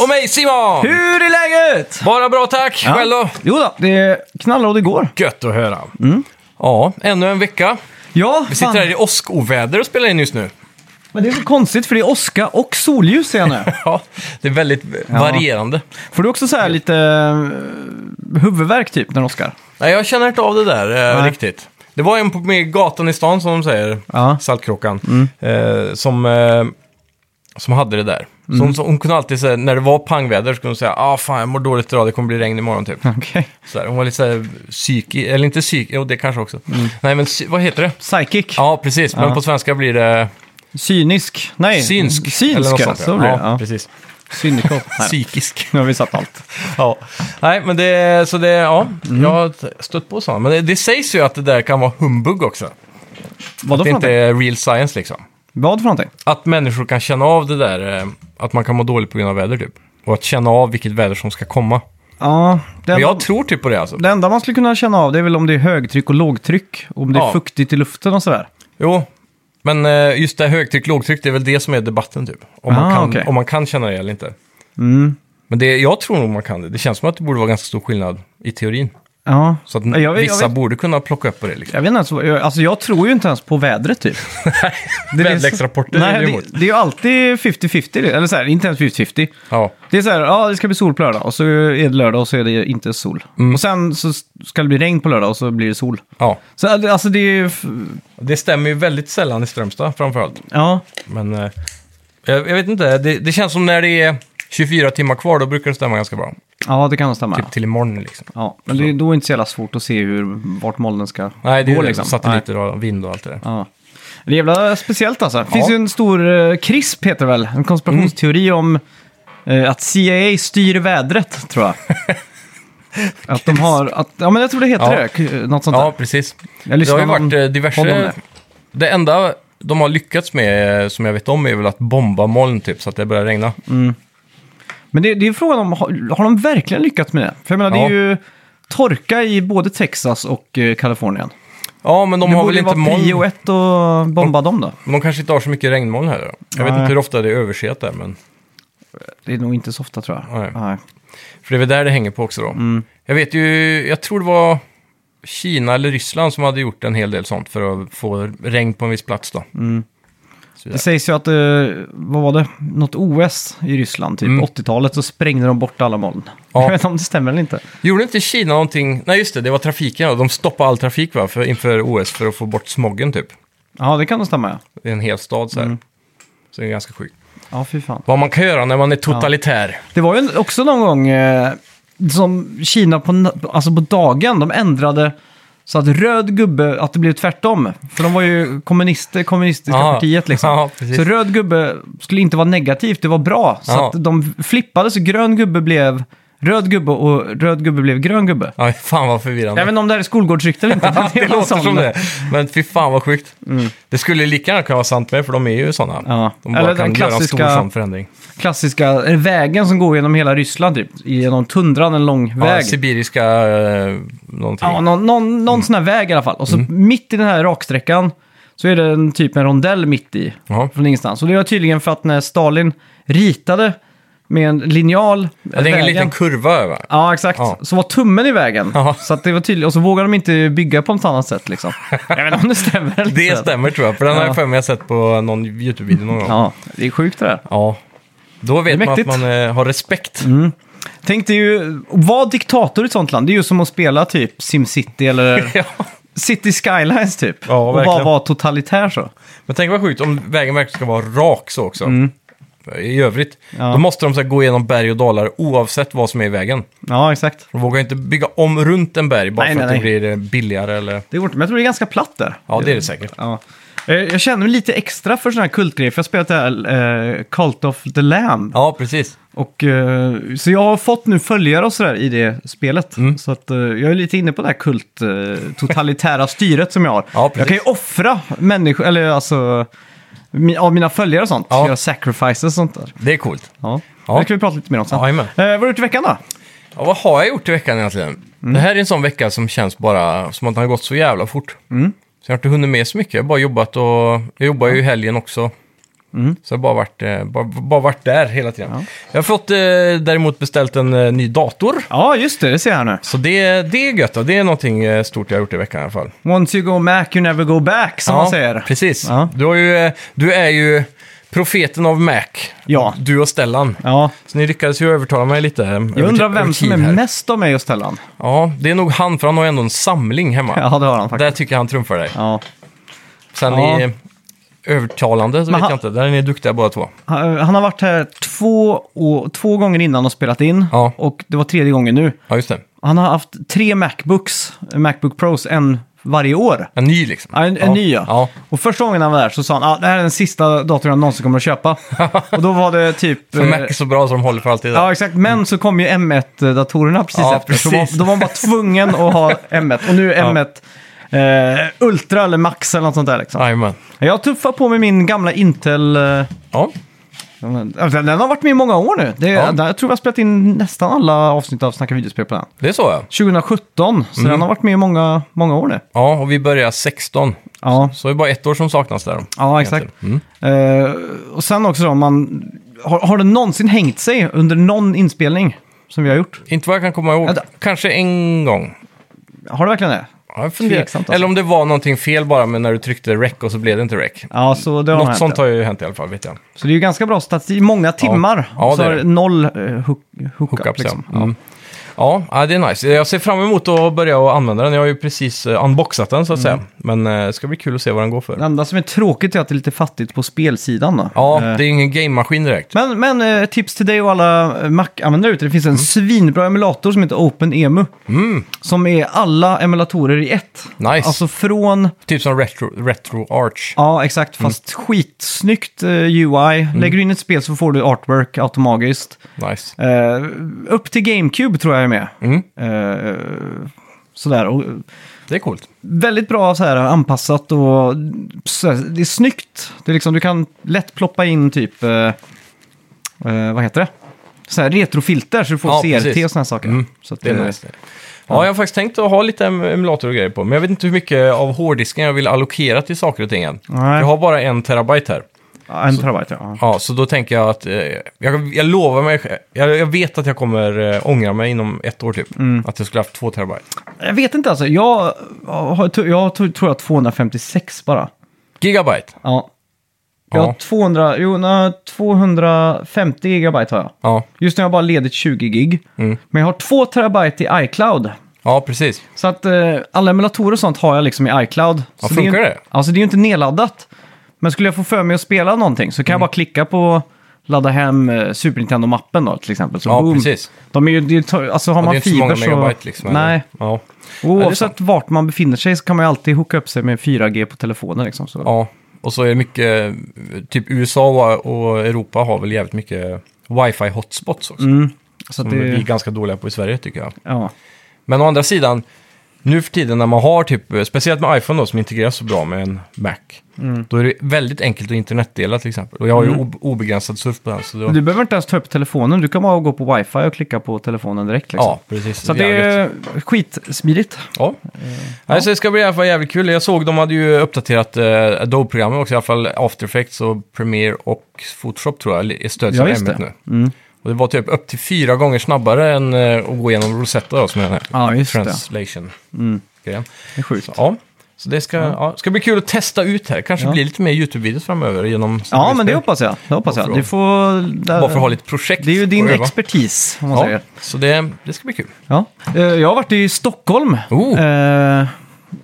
Och mig Simon! Hur är läget? Bara bra tack! Själv då? Jo då, det knallade och det går. Gött att höra. Ja, ännu en vecka. Ja, Vi sitter här i åskoväder och spelar in just nu. men det är så konstigt för det är åska och solljus ser jag nu. Ja, det är väldigt varierande. Får du också så här lite eh, huvudvärk typ när det åskar? Nej, jag känner inte av det där eh, Nej. riktigt. Det var en på med gatan i stan som de säger, Ja. Saltkråkan, eh, som, eh, som hade det där. Så hon, så hon kunde alltid säga, när det var pangväder, så kunde hon säga ah fan jag mår dåligt idag, det kommer bli regn imorgon typ. Okej. Så där, hon var lite såhär psykisk, eller inte psykisk, jo det kanske också. Nej men psy- vad heter det? Psychic. Ja precis, men på svenska blir det Cynisk. Nej. synsk. eller Synsk något ja. sånt, Så blir det. ja, Ja. precis. Cynical. Nej, Psykisk. nu har vi satt allt. Ja. Nej men det, så det, ja, jag har stött på sådana. Men det, det sägs ju att det där kan vara humbug också. Vad då för Det är inte någonting? är real science liksom. Vad för någonting? Att människor kan känna av det där, eh, att man kan må dåligt på grund av väder typ. Och att känna av vilket väder som ska komma. Ja, det Men enda, jag tror typ på det alltså. det enda man skulle kunna känna av det är väl om det är högtryck och lågtryck. Om det är Ja. fuktigt i luften och sådär. Jo, men eh, just det här högtryck, lågtryck, det är väl det som är debatten typ. Om, man, Ah, kan, okej. om man kan känna det eller inte. Mm. Men det, jag tror nog man kan det. Det känns som att det borde vara ganska stor skillnad i teorin. Ja. Så att Jag vet- jag vissa vet- borde kunna plocka upp på det liksom. Jag vet inte, ens vad- jag- alltså jag tror ju inte ens på vädret typ. Det är- Väderleksrapporter är det Nej, emot. det, det är ju alltid 50-50, eller så här, inte ens 50-50. Ja, Det är så här, ja det ska bli sol på lördag och så är det lördag och så är det inte sol. Mm. Och sen så ska det bli regn på lördag och så blir det sol. ja. Så alltså det är ju, f- Det stämmer ju väldigt sällan i Strömstad framförallt. ja, Men eh, jag, jag vet inte, det, det känns som när det är 24 timmar kvar, då brukar det stämma ganska bra. ja det kan nog stämma. Typ till imorgon liksom. Ja, men det är då är det inte så jävla svårt att se hur, vart molnen ska Nej, det är gå ju liksom. Nej. satelliter och vind och allt det där. Ja. Det är jävla speciellt alltså. Det finns Ja. ju en stor eh, CRISP heter det väl, en konspirationsteori Mm. om eh, att CIA styr vädret tror jag. att de har, att, ja men jag tror det heter Ja. det, k- eh, något sånt Ja, där. precis. Jag Det har lyssnade ju varit någon- eh, podd om diverse... det. Det enda de har lyckats med, eh, som jag vet om, är väl att bomba moln typ, så att det börjar regna. Mm. Men det, det är frågan om, har, har de verkligen lyckats med det? För jag menar Ja. det är ju torka i både Texas och eh, Kalifornien. Ja, men de det har väl borde ju inte vara prio moln. ett och bomba dem då. Men de kanske inte har så mycket regnmoln här. då. Jag vet Nej. inte hur ofta det är överset där, men... Det är nog inte så ofta tror jag. Nej. För det är väl där det hänger på också då. Mm. Jag vet ju, jag tror det var Kina eller Ryssland som hade gjort en hel del sånt för att få regn på en viss plats då. Mm. Så Det där. sägs ju att, eh, vad var det, något OS i Ryssland, typ Mm. 80-talet, så sprängde de bort alla moln. Ja. Jag vet inte om det stämmer eller inte. Gjorde inte Kina någonting, nej just det, det var trafiken då. De stoppade all trafik va, för, inför OS för att få bort smoggen typ. Ja, det kan nog stämma ja. Det är en hel stad så här. Mm. Så det är ganska sjukt. Ja, fy fan. Vad man kan göra när man är totalitär. Det var ju en- också någon gång eh, som Kina på, na- alltså på dagen, de ändrade så att röd gubbe, att det blev tvärtom. För de var ju kommunister, kommunistiska Ja. partiet liksom. Ja, precis. så röd gubbe skulle inte vara negativt, det var bra. Så Ja. att de flippade, så grön gubbe blev röd gubbe och röd gubbe blev grön gubbe. Ja, fan vad förvirrande. Jag vet inte om det här är skolgårdsrykte eller inte. men det var en låter sån- Mm. som det. Men fy fan vad sjukt. Det skulle lika gärna kunna vara sant med, för de är ju sådana. Ja. De bara Eller den kan göra en stor klassiska- sån förändring. klassiska eh, vägen som går genom hela Ryssland, typ. genom tundran, en lång Ja, väg. sibiriska eh, någonting. Ja, någon någon, Mm. någon sån här väg i alla fall. Och så mitt i den här raksträckan så är det en typ en rondell mitt i, Jaha. från ingenstans. Och det var tydligen för att när Stalin ritade med en linjal Ja, det är vägen, en liten kurva över. Ja, exakt. Ja. Så var tummen i vägen. Ja. Så att det var tydligt. Och så vågade de inte bygga på något annat sätt liksom. Jag vet inte om det stämmer eller Det inte. stämmer tror jag, för den har jag Ja. för mig jag sett på någon YouTube-video någon gång. Ja. Ja, det är sjukt det där. Då vet Det är man att mäktigt. Mm. man eh, har respekt. Tänk dig ju, vara diktator i ett sånt land, det är ju som att spela typ SimCity eller Ja. City Skylines typ. Ja, och bara verkligen. vara totalitär så. Men tänk vad sjukt om vägen verkligen ska vara rak så också. I övrigt. Mm. Ja. Då måste de så här, gå igenom berg och dalar oavsett vad som är i vägen. Ja, exakt. De vågar inte bygga om runt en berg bara Nej, nej, för Mm. att det blir eh, billigare eller... Det är gjort, men jag tror det är ganska platt där. Ja, det är det säkert. Ja. Eh, Jag känner mig lite extra för sådana här kultgrejer, för jag har spelat det här eh, Cult of the Lamb. Ja, precis. Och, eh, så jag har fått nu följare och sådär i det spelet. Mm. Så att, eh, jag är lite inne på det här kult, eh, totalitära styret som jag har. Ja, precis. jag kan ju offra människor, eller alltså, mi- av mina följare och sånt. Ja. Göra sacrifices och sånt där. Det är coolt. Ja. Ja. Det kan vi prata lite mer om sen. Ja, jajamän. eh, vad har du gjort i veckan då? Ja, vad har jag gjort i veckan egentligen? Mm. Det här är en sån vecka som känns bara som att den har gått Mm. så jävla fort. Så jag har inte hunnit med så mycket. Jag har bara jobbat och... Jag jobbar ju i helgen också. Så jag har bara varit, eh, bara, bara varit där hela tiden. Mm. Ja. Jag har fått eh, däremot beställt en eh, ny dator. Ja, just det. Det ser jag här nu. Så det, det är gött och det är någonting eh, stort jag har gjort i veckan i alla fall. Once you go back, you never go back, som man säger. Precis. Ja. Du, har ju, eh, du är ju profeten av Mac. Ja. Du och Stellan. Ja. Så ni lyckades ju övertala mig lite. eh, Jag undrar vem som är mest av mig och Stellan. Ja, det är nog han, för han har ju ändå en samling hemma. Ja, det har han faktiskt. Där tycker jag han trumfar dig. Ja. Sen Ja. i eh, övertalande så Men vet han- jag inte. Där är ni duktiga båda två. Han eh, han har varit här två, och, två gånger innan och spelat in. Ja. Och det var tredje gången nu. Ja, just det. Han har haft tre Macbooks, Macbook Pros, en varje år. En ny liksom. Ja, en, en ny ja. ja. Och första gången han var där så sa han att ah, det här är den sista datorn jag någonsin kommer att köpa. och då var det typ... För eh, Mac är så bra så de håller för alltid. Ja, exakt. Men så kom ju M1-datorerna precis Ja, efter. Så precis. var, då var man bara tvungen att ha M1. Och nu är Ja. M1 eh, Ultra eller Max eller något sånt där. Liksom. Jajamän. Jag tuffar på med min gamla Intel. Eh, alltså, Ja. den har varit med i många år nu. Det, Ja. där, jag tror jag har spelat in nästan alla avsnitt av Snacka videospel på den. Det är så ja. 2017, så Mm. den har varit med i många, många år nu. Ja, och vi börjar 16. Ja, Så det är bara ett år som saknas där. ja exakt. Mm. Eh, och sen också då, om man, har, har det någonsin hängt sig under någon inspelning som vi har gjort? Inte vad jag kan komma ihåg. Vänta. Kanske en gång. Har det verkligen det? Ja, jag funderar. Tveksamt, alltså. Eller om det var någonting fel bara med när du tryckte rec och så blev det inte rec. Ja, så det har Något hänt, sånt ja. har ju hänt i alla fall, vet jag. Så det är ju ganska bra statistik. Många timmar. så Ja, det är har det. noll uh, hook, hookup. Hookups, liksom. ja. Mm. Ja, ja, det är nice. Jag ser fram emot att börja att använda den. Jag har ju precis eh, unboxat den så att Mm. säga. Men eh, det ska bli kul att se vad den går för. Det enda som är tråkigt är att det är lite fattigt på spelsidan. Då. Ja, Eh, det är ju ingen game-maskin direkt. Men, men eh, tips till dig och alla eh, Mac-användare ute. Det finns en Mm. svinbra emulator som heter OpenEMU. Som är alla emulatorer i ett. Nice. Alltså från, Typ som retro, retro Arch. ja exakt, Mm. fast skitsnyggt eh, UI. Lägger du in ett spel så får du artwork automatiskt. Nice. Eh, upp till GameCube tror jag är med. Mm. Eh, sådär. Och, Det är coolt. väldigt bra så här, anpassat och så här, det är snyggt. Det är liksom, du kan lätt ploppa in typ, eh, eh, vad heter det? Så här, retrofilter så du får Ja, CRT precis. och sådana saker. Mm, Så att, Det är eh, nice. Ja, jag har faktiskt tänkt att ha lite em- emulator och grejer på. Men jag vet inte hur mycket av hårddisken jag vill allokera till saker och ting än. Nej. Jag har bara en terabyte här. ja, en terabyte, ja. Ja, så då tänker jag att eh, jag, jag lovar mig, sj- jag, jag vet att jag kommer eh, ångra mig inom ett år typ. Mm. Att jag skulle haft två terabyte. Jag vet inte alltså, jag, har, jag tror jag har 256 bara. Gigabyte? Ja. Jag har Ja. 200, jo, nej, 250 gigabyte har jag. Ja, Just nu har jag bara ledigt 20 gig. Mm. Men jag har 2 terabyte i iCloud. ja precis. Så att eh, alla emulatorer och sånt har jag liksom i iCloud. Ja, så funkar det? Är, ju- det? alltså det är ju inte nedladdat. Men skulle jag få för mig att spela någonting så kan Mm. jag bara klicka på ladda hem eh, Super Nintendo-mappen då till exempel. Så Ja, boom. precis. De är ju, det är, ju- alltså har Ja, det är man inte så många fiber så... megabyte liksom. eller? Nej. Ja. det är sant. Oavsett vart man befinner sig så kan man ju alltid hooka upp sig med 4G på telefonen liksom. Så. ja, och så är det mycket, eh, typ USA och- och Europa har väl jävligt mycket wifi hotspots också. Mm. så att Som vi är det, ganska dåliga på i Sverige tycker jag. ja. Men å andra sidan, nu för tiden när man har typ, eh, speciellt med iPhone då som integreras så bra med en Mac, Mm. då är det väldigt enkelt att internetdela till exempel. Och jag har ju ob- obegränsad surf på den. Så då, Men Mm. du behöver inte ens ta upp telefonen, du kan bara gå på wifi och klicka på telefonen direkt liksom. ja, precis. Så att det Mm. Jävligt. är skitsmidigt. Ja. Nej, så det ska bli i alla fall jävligt kul. Jag såg de hade ju uppdaterat eh, Adobe-programmen också, i alla fall After Effects och Premiere och Photoshop tror jag är stöds Ja, av just M1 nu. det. Mm. Och det var typ upp till fyra gånger snabbare än eh, att gå igenom Rosetta då, som är den här Ja, just det. Mm. translation Det är sjukt. Ja. Så det ska, ja. ska bli kul att testa ut här. Kanske Ja. blir lite mer YouTube-videos framöver genom... Ja, men det hoppas jag. Det hoppas Varför jag. då? Du får... Där, Bara för att ha lite projekt. det är ju din att öva. expertis, om man Ja, säger. så det, det ska bli kul. Ja. Eh, Jag har varit i Stockholm. Oh. Eh,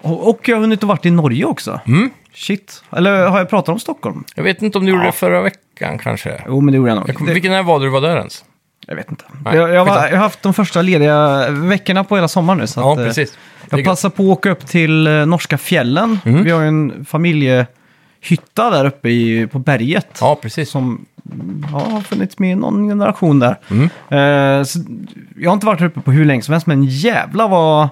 Och och jag har hunnit varit i Norge också. Mm. Shit. Eller har jag pratat om Stockholm? Jag vet inte om du gjorde det förra veckan kanske. Jo, men det gjorde jag nog. Jag kom, Det- vilken här var du var där ens? Jag vet inte. Nej, jag, jag, var, skitsamma. jag har haft de första lediga veckorna på hela sommaren nu. Så Ja, att, eh, precis. Det är Jag gött. passar på att åka upp till eh, norska fjällen. Mm. Vi har ju en familjehytta där uppe i, på berget. Ja, precis. som mm, ja, har funnits med i någon generation där. Mm. Eh, så, jag har inte varit här uppe på hur länge som helst, men jävla vad,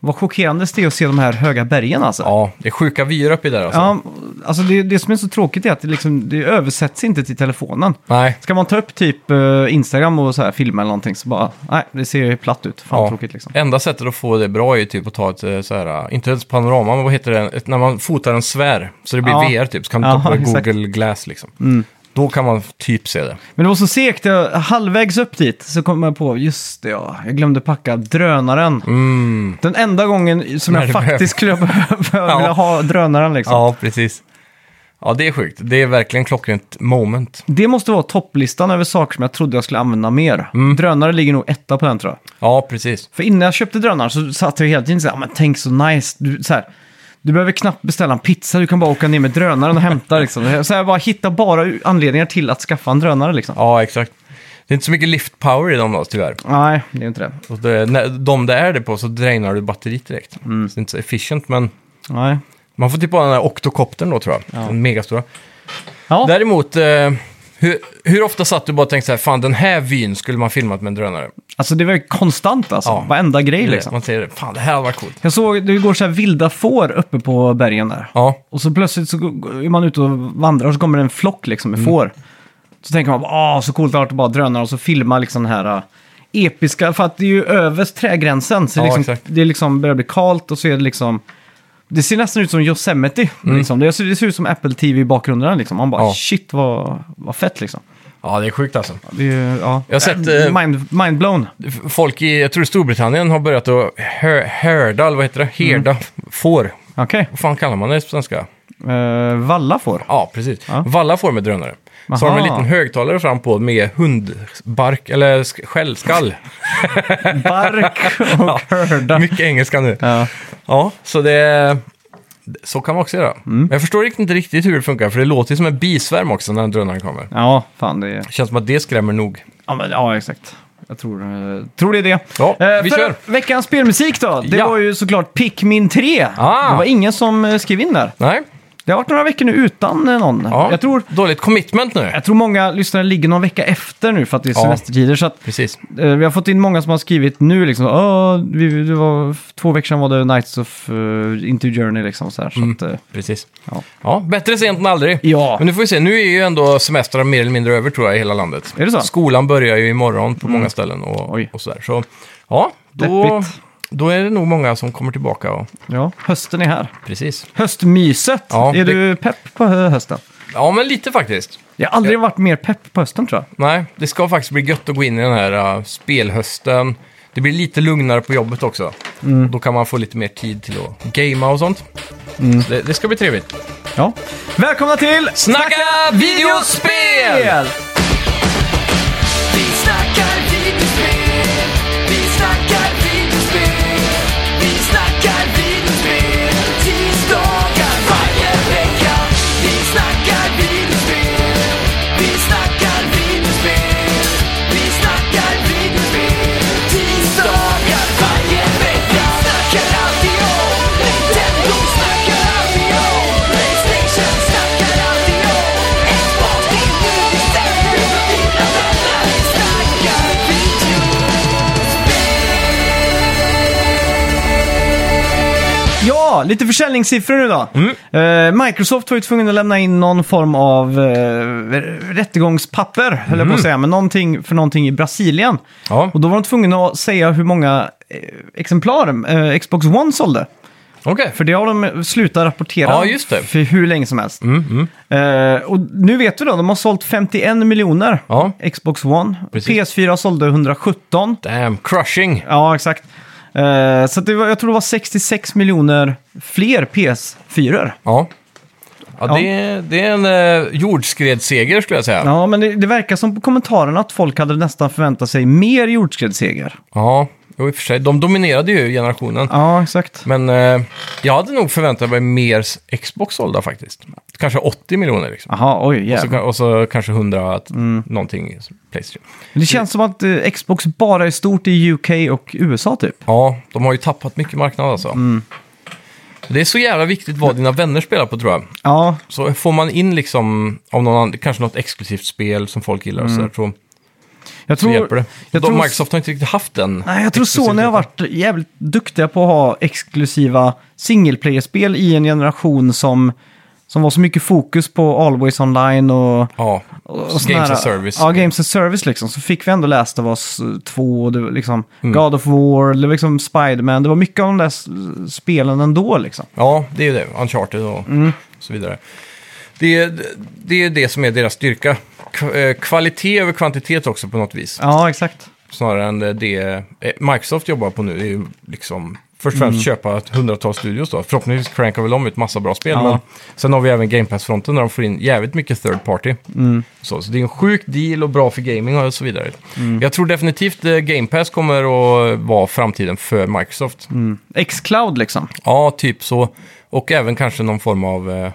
vad chockerande det är att se de här höga bergen alltså. Ja, det är sjuka vyer uppe där alltså. Ja, alltså det, det som är så tråkigt är att det, liksom, det översätts inte till telefonen. Nej. Ska man ta upp typ eh, Instagram och så här, filma eller någonting så bara, nej, det ser ju platt ut. Fan Ja. tråkigt liksom. Ända sättet att få det bra är ju typ att ta ett eh, så här, inte ett panorama, men vad heter det, ett, när man fotar en sfär, så det blir Ja. VR typ, så kan du Ja, ta på dig exakt. Mm. Google Glass liksom. Då kan man typ se det. Men det var så segt, jag, halvvägs upp dit så kom jag på, just det ja, jag glömde packa drönaren. Mm. Den enda gången som När jag du faktiskt skulle behöva vilja ha drönaren liksom. Ja, precis. Ja, det är sjukt. Det är verkligen klockrent moment. Det måste vara topplistan över saker som jag trodde jag skulle använda mer. Mm. Drönare ligger nog etta på den tror jag. Ja, precis. För innan jag köpte drönaren så satt jag hela tiden så här, "Ah, men tänk så nice. Du, så här, du behöver knappt beställa en pizza, du kan bara åka ner med drönaren och hämta. Liksom. Så jag bara hittar bara u- anledningar till att skaffa en drönare. Liksom. Ja, exakt. Det är inte så mycket lift power i dem då, tyvärr. Nej, det är inte det. Och det, när, de det är det på så drainar du batteriet direkt. Så det är inte så efficient, men Nej. man får typ ha den här oktokoptern då tror jag. Den megastora. Ja. Däremot, eh, hur, hur ofta satt du bara och tänkte så här, fan den här vyn skulle man filmat med en drönare? Alltså det var ju konstant alltså, Ja. varenda grej liksom. Man säger, fan det här hade varit coolt. Jag såg, det går så här vilda får uppe på bergen där. Ja, Och så plötsligt så g- g- är man ute och vandrar och så kommer det en flock liksom med Mm. får. Så tänker man, ah så coolt det har varit att bara drönare och så filma liksom den här äh, episka, för att det är ju över trägränsen. Så Ja, liksom, exakt. det liksom börjar bli kallt och så är det liksom, det ser nästan ut som Yosemite. Liksom. Det, ser, det ser ut som Apple TV i bakgrunden liksom. Man bara, Mm. Ja. shit vad, vad fett liksom. ja det är sjukt alltså. Det är, ju- ja. Äh, Jag har sett, eh, Mind, mind blown. F- Folk i, jag tror Storbritannien har börjat att hö- härda, eller vad heter det? Herda får. Okej. Vad fan kallar man det på svenska? Eh, valla får. Ja, precis. Ja. Valla får med drönare. Så har de en Aha. liten högtalare fram på med hundbark, eller sk- skällskall. Bark och hörda. Mycket engelska nu. Ja. Ja, så det... Så kan man också göra. Mm. Men jag förstår inte riktigt hur det funkar, för det låter ju som en bisvärm också när drönaren kommer. ja, fan det är... Det känns som att det skrämmer nog. Ja, men, ja exakt. Jag tror, eh, tror det är det. Ja, Eh, vi förra kör. Veckans spelmusik då. Det Ja. var ju såklart Pikmin 3. Ah. Det var ingen som eh, skrev in där. Nej, Det har varit några veckor nu utan eh, någon. ja. Jag, tror, dåligt commitment nu. jag tror många lyssnare ligger någon vecka efter nu för att det är Ja. semestertider. Så att, Precis. eh, vi har fått in många som har skrivit nu liksom. "Åh, vi, det var, två veckor sedan var det Nights of eh, Into Journey liksom. Så här, Mm. så att, eh, Precis. Ja. Ja. bättre sent än aldrig. Ja. Men nu får vi se, nu är ju ändå semestrar mer eller mindre över tror jag i hela landet. Är det så? Mm. Skolan börjar ju imorgon på många ställen och, Oj. och sådär. Så ja, då, Deppigt. då är det nog många som kommer tillbaka. Och, ja, hösten är här. precis. Höstmyset. Ja, är det- du pepp på hö- hösten? Ja, men lite faktiskt. Jag har aldrig varit mer pepp på hösten tror jag. Nej, det ska faktiskt bli gött att gå in i den här äh, spelhösten. Det blir lite lugnare på jobbet också. Mm. Då kan man få lite mer tid till att gamea och sånt. Mm. Det, det ska bli trevligt. Ja. Välkomna till Snacka videospel! Spel! Vi snackar videospel, vi snackar videospel, vi snackar videospel, tisdagar varje vecka. Vi snackar videospel, vi snackar videospel, vi snackar videospel, tisdagar varje vecka. Snackar alltid om Nintendo, snackar alltid om Playstation, snackar alltid om Xbox, det är nu vi sänder. Dina vänner, vi snackar video. Ja, lite försäljningssiffror nu då. Mm. Eh, Microsoft var ju tvungen att lämna in någon form av eh, rättegångspapper, höll jag på att säga, men någonting för någonting i Brasilien. Mm. Ja, Och då var de tvungna att säga hur många eh, exemplar eh, Xbox One sålde. okej. För det har de slutat rapportera Ja, just det. Mm, för hur länge som helst. Eh, och nu vet vi då, de har sålt 51 miljoner Ja. Xbox One. Precis. PS4 sålde 117. Damn, crushing. Ja, exakt. Eh, så att det var, jag tror det var 66 miljoner fler PS4. Ja. Ja, Det, det är en eh, jordskredsseger skulle jag säga. Ja. Ja, men det, det verkar som på kommentarerna att folk hade nästan förväntat sig mer jordskredsseger. jo, i och för sig. De dominerade ju generationen. Ja, exakt. Men eh, jag hade nog förväntat mig mer s- Xbox sålda faktiskt. Kanske 80 miljoner liksom. Jaha, oj, Så, jävlar. ka- och så kanske 100 att- Mm. någonting i Playstation. Men Det känns som att eh, Xbox bara är stort i UK och USA typ. Ja, de har ju tappat mycket marknad alltså. Mm. Det är så jävla viktigt vad dina vänner spelar på tror jag. Ja, Så får man in liksom, om någon annan, kanske något exklusivt spel som folk gillar och sådär, så, jag så Mm. tror... hjälper det. jag De, tror- Microsoft har inte riktigt haft den. Nej, jag tror Sony har exklusiviteten. varit jävligt duktiga på att ha exklusiva single player-spel i en generation som Som var så mycket fokus på Always Online och... Ja, och Games sån här- as Service. Ja, Games as Service liksom. Så fick vi ändå Last of Us 2, och det var liksom Mm. God of War, det var liksom Spiderman. Det var mycket av de där s- spelen ändå liksom. Ja, det är ju det. Uncharted och Mm. så vidare. Det är, det är det som är deras styrka. K- eh, kvalitet över kvantitet också på något vis. Ja, exakt. Snarare än det eh, Microsoft jobbar på nu är ju liksom först och främst Mm. köpa ett hundratals studios då. Förhoppningsvis crankar väl de ut massa bra spel. Ja. Men sen har vi även Game Pass-fronten där de får in jävligt mycket third party. Mm. Så, så det är en sjuk deal och bra för gaming och så vidare. Mm. Jag tror definitivt eh, Game Pass kommer att vara framtiden för Microsoft. Xcloud liksom. Ja, typ så. Och även kanske någon form av eh,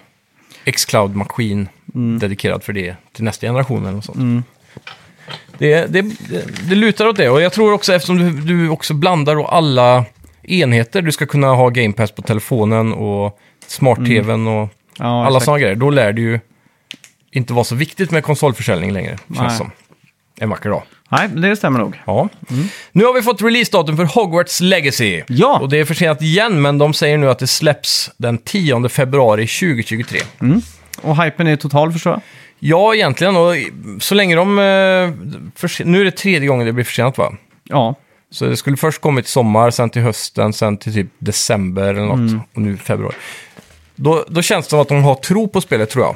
Xcloud-maskin Mm. dedikerad för det till nästa generation eller något sånt. Det, det, det lutar åt det. Och jag tror också, eftersom du, du också blandar då alla enheter, du ska kunna ha Game Pass på telefonen och smart-tvn och Mm. Ja, alla exakt. sådana grejer. Då lär det ju inte vara så viktigt med konsolförsäljning längre, känns Nej. som. En vacker dag. Nej, det stämmer nog. Ja. Nu har vi fått releasedatum för Hogwarts Legacy. Ja. Och det är försenat igen, men de säger nu att det släpps den 10 februari 2023. Mm. Och hypen är total förstår jag. Ja, egentligen. Och så länge de... eh, förse- Nu är det tredje gången det blir försenat, va? Ja, Så det skulle först kommit i sommar, sen till hösten, sen till typ december eller något. Mm. Och nu februari. Då, då känns det som att de har tro på spelet, tror jag.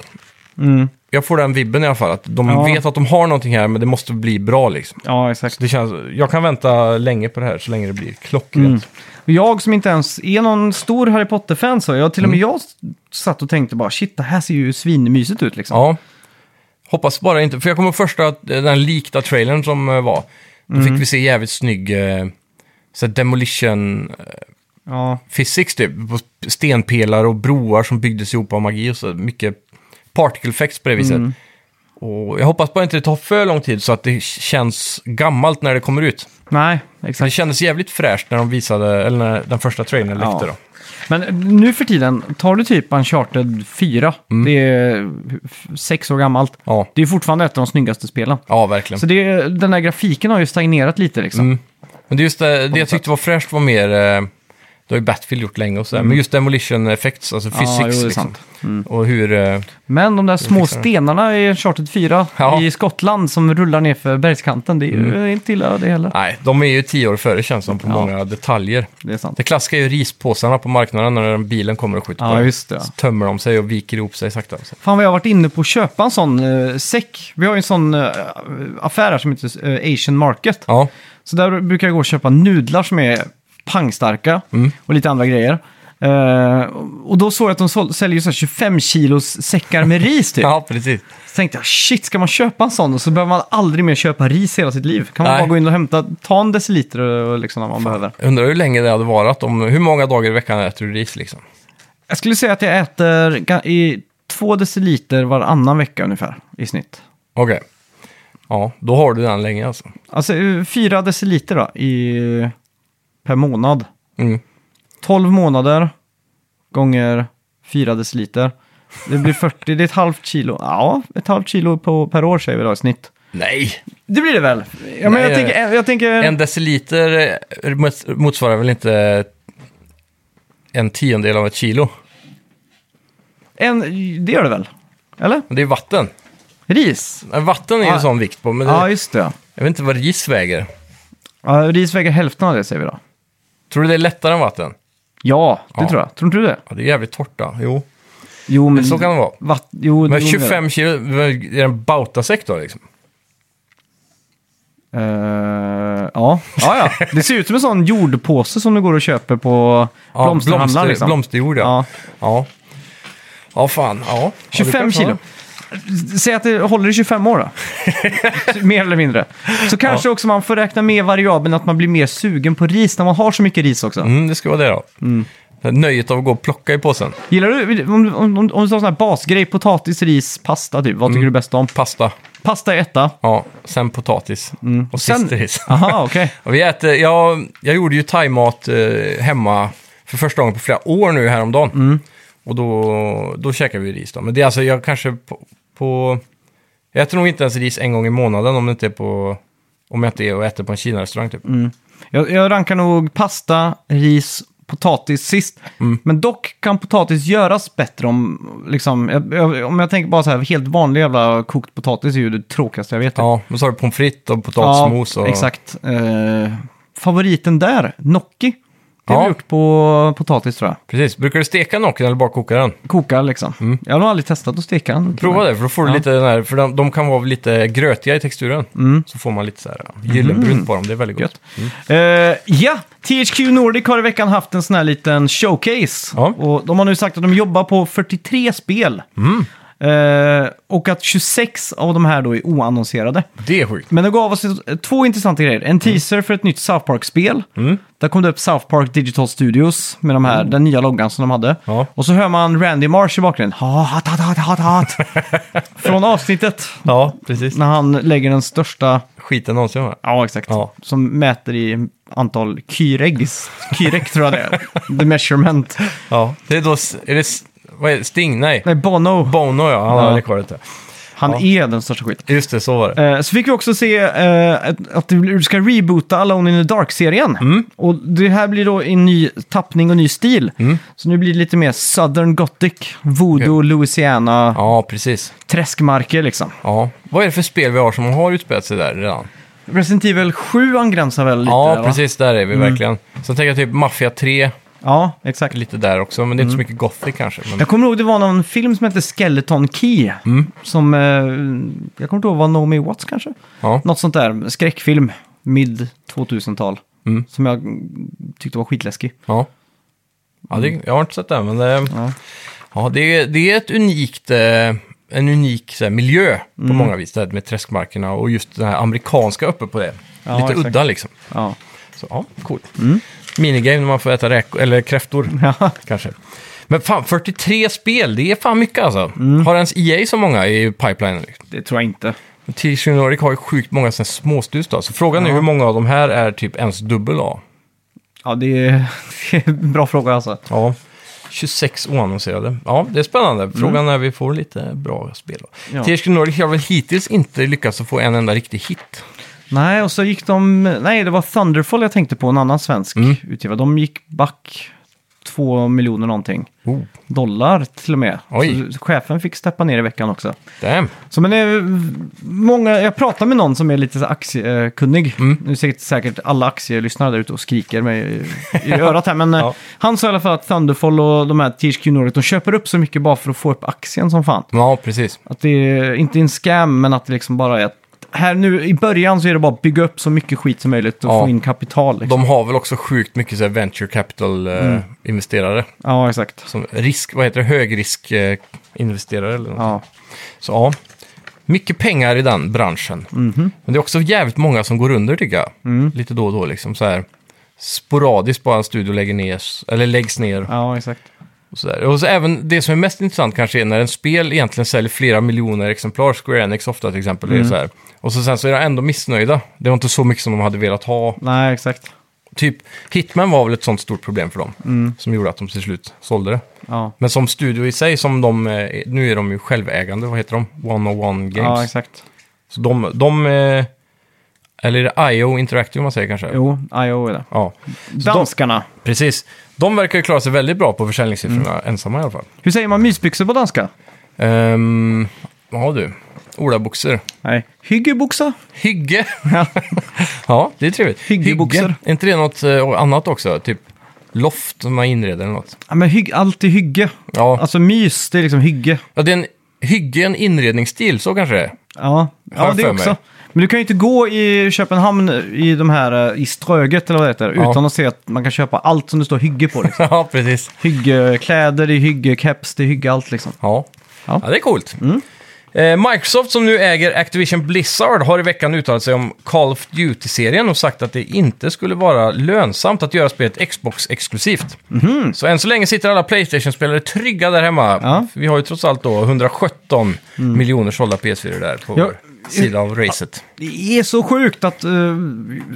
Jag får den vibben i alla fall. Att de Mm. Ja. vet att de har någonting här, men det måste bli bra liksom. ja exakt. Det känns, jag kan vänta länge på det här, så länge det blir klockrent. Mm. Och Jag som inte ens är någon stor Harry Potter-fan så, jag, till och Mm. med jag s- satt och tänkte bara shit, det här ser ju svinmysigt ut liksom. Ja. Hoppas bara inte, för jag kommer första, eh, den likta trailern som eh, var. Då fick vi se jävligt snygg eh, så här demolition eh, Ja, physics typ. På sp- stenpelare och broar som byggdes ihop av magi och så. Mycket particle effects på det viset. Och jag hoppas bara inte det tar för lång tid så att det känns gammalt när det kommer ut. nej, Det exakt. kändes jävligt fräscht när de visade, eller när den första trailern läckte Ja. då. Men eh, nu för tiden, tar du typ Uncharted 4, Mm. det är f- sex år gammalt, Ja. det är fortfarande ett av de snyggaste spelen. Ja, verkligen. Så det, den där grafiken har ju stagnerat lite liksom. Mm. Men det, är just det, det jag tyckte var fräscht var mer... eh, Det har ju Battlefield gjort länge och sådär. Men just demolition effects, alltså physics. Mm. jo, det är liksom. sant. Mm. Och hur... eh, Men de där små fixar det. stenarna i Uncharted 4 Ja. Mm. i Skottland som rullar ner för bergskanten, det är ju inte illa det heller. Nej, de är ju tio år före känns som på Ja. många detaljer. Det är sant. Det klassiska är ju rispåsarna på marknaden när bilen kommer och skjuter på Ja, den. just det. ja. Så tömmer de sig och viker ihop sig sakta. Så. Fan vad jag har varit inne på att köpa en sån eh, säck. Vi har ju en sån eh, affär här som heter eh, Asian Market. Ja, Så där brukar jag gå och köpa nudlar som är pangstarka Mm. och lite andra grejer. Eh, och då såg jag att de sål- säljer ju så här 25 kilos säckar med ris typ. ja precis. Så tänkte jag, shit, ska man köpa en sån och så behöver man aldrig mer köpa ris hela sitt liv. Kan man Nej. bara gå in och hämta, ta en deciliter och, och liksom när man behöver. Jag Undrar hur länge det hade varat om... Hur många dagar i veckan äter du ris liksom? Jag skulle säga att jag äter ga- i två deciliter varannan vecka ungefär i snitt. Okej. Ja, då har du den länge alltså. Alltså eh, fyra deciliter då, i, per månad. Mm. 12 månader gånger fyra deciliter. Det blir 40, det är ett halvt kilo. Ja, ett halvt kilo på, per år säger vi då i snitt. Nej! Det blir det väl? Ja, men Nej, jag, tänker, jag tänker... En deciliter eh, mot- motsvarar väl inte en tiondel av ett kilo? En, det gör det väl? Eller? Men det är vatten. Ris? Eh, Vatten är ju Ja. en sån vikt på, men Ja, det, just det. jag vet inte vad ris väger. Ja, ris väger hälften av det säger vi då. Tror du det är lättare än vatten? Ja, det Ja. tror jag. Tror inte du det? Ja, det är jävligt torrt då. Jo, Jo, men... så kan det vara. Vatt, jo, Men jo, 25 kilo, är det en bautasäck då liksom? Eh, ja. ja, ja. Det ser ut som en sån jordpåse som du går och köper på Ja, blomsterhandlaren. Liksom. Blomsterjord ja. Ja. Ja, ja fan. Ja. Ja, det 25 kanske kilo. var. Säg att det håller i 25 år då. mer eller mindre. Så kanske också man får räkna med variabeln att man blir mer sugen på ris när man har så mycket ris också. Mm, det ska vara det då. Nöjet av att gå och plocka i påsen. Gillar du, om, om, om, om du tar sån här basgrej, potatis, ris, pasta typ, vad Mm. tycker du bäst om? Pasta, Pasta är etta. ja. Sen potatis. Och Mm. Sen- sist ris. Aha, okej. Och vi äter, jag, jag gjorde ju thaimat eh, hemma för första gången på flera år nu häromdagen. Mm. Och då, då käkar vi ris då. Men det är alltså, jag kanske på, på... Jag äter nog inte ens ris en gång i månaden om det inte är på... Mm. Om jag inte är och äter på en Kina-restaurang typ. Jag, jag rankar nog pasta, ris, potatis sist. Mm. Men dock kan potatis göras bättre om, liksom, jag, jag, om jag tänker bara så här, helt vanlig jävla kokt potatis är ju det tråkigaste jag vet. typ. Ja, men så har du pommes frites och potatismos. och... exakt. Eh, favoriten där, gnocchi. Det har Ja. vi gjort på potatis tror jag. Precis. Brukar du steka nocken eller bara koka den? Koka liksom. Jag har nog aldrig testat att steka en. Mm. Prova det, för då får du Mm. Ja. lite den här, för de, de kan vara lite grötiga i texturen. Så får man lite så här ja, gyllenbrunt på dem, det är väldigt gott. Mm. Gött. Eh, ja, THQ Nordic har i veckan haft en sån här liten showcase. Ja. Och de har nu sagt att de jobbar på 43 spel. Mm. Eh, och att 26 av de här då är oannonserade. Det är sjukt. Men det gav oss ett- två intressanta grejer. En teaser för ett nytt South Park-spel. Mm. Där kom det upp South Park Digital Studios med de här, den nya loggan som de hade. Ja. Och så hör man Randy Marsh i bakgrunden. Ha, hat, hat, hat, hat, hat. Från avsnittet Ja, precis. när han lägger den största Skiten någonsin. va? Ja, exakt. Ja. Som mäter i antal kyregs. Kyreg tror jag det är. The measurement. Ja, det är då, s- är det, s- vad är det, Sting? Nej. Nej, Bono. Bono ja, han Ja. hade kvar det. Han är den största skiten. Just det, så var det. Eh, Så fick vi också se eh, att- att du ska reboota Alone in the Dark-serien. Mm. Och det här blir då en ny tappning och ny stil. Mm. Så nu blir det lite mer Southern Gothic, Voodoo, Louisiana, Ja, precis. träskmarker liksom. Ja. Vad är det för spel vi har som har utspelat sig där redan? Resident Evil 7 angränsar väl lite? ja, va? Mm. precis. Där är vi verkligen. Sen tänker jag typ Mafia 3, Ja, exakt. lite där också. Men det är Mm. inte så mycket gothic kanske. Men... Jag kommer ihåg det var någon film som hette Skeleton Key. Mm. Som, eh, jag kommer inte ihåg, var Naomi Watts kanske? Ja. Något sånt där, skräckfilm, mid 2000-tal. Som jag mm, tyckte var skitläskig. Ja. Ja, det, jag har inte sett det, men det, ja. det, är- det är ett unikt, eh, en unik så här, miljö på Mm. många vis, det här med träskmarkerna och just den här amerikanska uppe på det. Ja, Lite exakt. udda liksom. Ja. Så, ja, coolt. Minigame när man får äta räk- eller kräftor, Ja. kanske. Men fan, 43 spel, det är fan mycket alltså. Har ens EA så många i pipelinen? liksom? Det tror jag inte. Men THQ Nordic har ju sjukt många såna här småstudios då, så frågan är hur många av de här är typ ens dubbel A? Ja, det är, det är en bra fråga alltså. Ja, 26 oannonserade. Ja, det är spännande. Frågan är vi får lite bra spel. Då. Ja. THQ Nordic har väl hittills inte lyckats att få en enda riktig hit. Nej, och så gick de... Nej, det var Thunderfall jag tänkte på, en annan svensk Mm. utgivare. De gick back två miljoner någonting. Oh. Dollar till och med. Oj. Så chefen fick steppa ner i veckan också. Damn. Så men det är många, jag pratar med någon som är lite så aktiekunnig. Mm. Nu är säkert, säkert alla aktielyssnare där ute och skriker mig i, i örat här. Men eh, Ja. han sa i alla fall att Thunderfall och de här THQ Nordic, de köper upp så mycket bara för att få upp aktien som fan. Ja, precis. Att det är inte en scam, men att det liksom bara är att här nu i början så är det bara att bygga upp så mycket skit som möjligt och Ja. få in kapital. Liksom. De har väl också sjukt mycket så här venture eh, capital-investerare. Ja, exakt. Som risk, vad heter det, högrisk-investerare eller något. Ja. Så ja, mycket pengar i den branschen. Men det är också jävligt många som går under tycker jag. Lite då och då liksom så här. Sporadiskt bara en studio lägger ner, eller läggs ner. ja, exakt. Och, sådär. och så även det som är mest intressant kanske är när en spel egentligen säljer flera miljoner exemplar, Square Enix ofta till exempel, är så här. och så sen så är de ändå missnöjda. Det var inte så mycket som de hade velat ha. Nej, exakt. Typ, Hitman var väl ett sånt stort problem för dem, som gjorde att de till slut sålde det. Ja, Men som studio i sig, som de, eh, nu är de ju självägande, vad heter de? One on One ja Games. exakt. så de, de eh, eller är det IO Interactive man säger kanske? Jo, IO är det. Ja, de- Danskarna. precis. De verkar ju klara sig väldigt bra på försäljningssiffrorna, Mm. ensamma i alla fall. Hur säger man mysbyxor på danska? Ehm, Vad har du? Olaboxer. Nej. Hyggeboxa? Hygge. ja, det är trevligt. Hyggeboxer. Hygge. Är inte det något eh, annat också? Typ loft som man inreder eller något? Ja, men hygg, allt är hygge. Ja, Alltså mys, det är liksom hygge. ja det är en hygge, en inredningsstil, så kanske det är. Ja, Har ja jag det för också. mig. Men du kan ju inte gå i Köpenhamn i de här eh, i Ströget eller vad det heter, Ja. utan att se att man kan köpa allt som det står hygge på. Liksom. ja, precis. Hyggekläder, det är hyggekeps, det är hygge allt liksom. Ja. Ja. Mm. ja, det är coolt. Eh, Microsoft som nu äger Activision Blizzard har i veckan uttalat sig om Call of Duty-serien och sagt att det inte skulle vara lönsamt att göra spelet Xbox-exklusivt. Så än så länge sitter alla Playstation-spelare trygga där hemma. Mhm. Ja. Mm. Vi har ju trots allt då 117 miljoner sålda PS4 där på Ja. vår sida av racet. Det är så sjukt att, eh,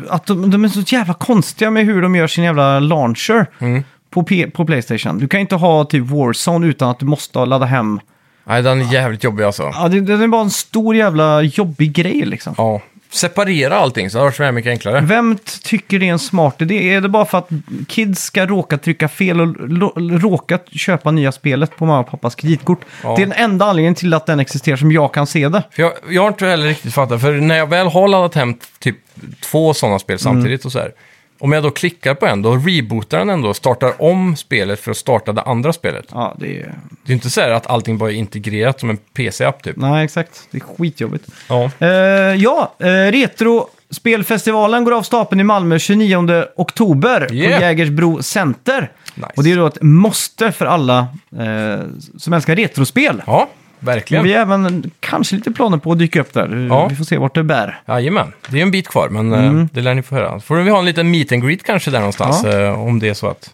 att de, de är så jävla konstiga med hur de gör sin jävla launcher Mm. på, P- på Playstation. Du kan inte ha typ Warzone utan att du måste ladda hem. Nej, den är jävligt jobbig alltså. Ja, det, det är bara en stor jävla jobbig grej liksom. Ja. separera allting så hade det varit så här mycket enklare. Vem t- tycker det är en smart idé? Är det bara för att kids ska råka trycka fel och lo- råka köpa nya spelet på mamma och pappas kreditkort? Ja. Det är den enda anledningen till att den existerar som jag kan se det. För jag, jag har inte heller riktigt fattat, för när jag väl har laddat hem typ två sådana spel samtidigt och så här. Om jag då klickar på en, då rebootar den ändå och startar om spelet för att starta det andra spelet. Ja, det är... Det är ju inte så här att allting bara är integrerat som en PC-app typ. Nej, exakt. Det är skitjobbigt. Ja. Eh, ja, eh, Retrospelfestivalen går av stapeln i Malmö 29 oktober Yeah. på Jägersbro Center. Nice. Och det är då ett måste för alla eh, som älskar retrospel. Ja, Men verkligen. vi har även kanske lite planer på att dyka upp där. Ja. Vi får se vart det bär. Jajamän, det är en bit kvar, men eh, det lär ni få höra. Får vi ha en liten meet and greet kanske där någonstans, Ja. eh, om det är så att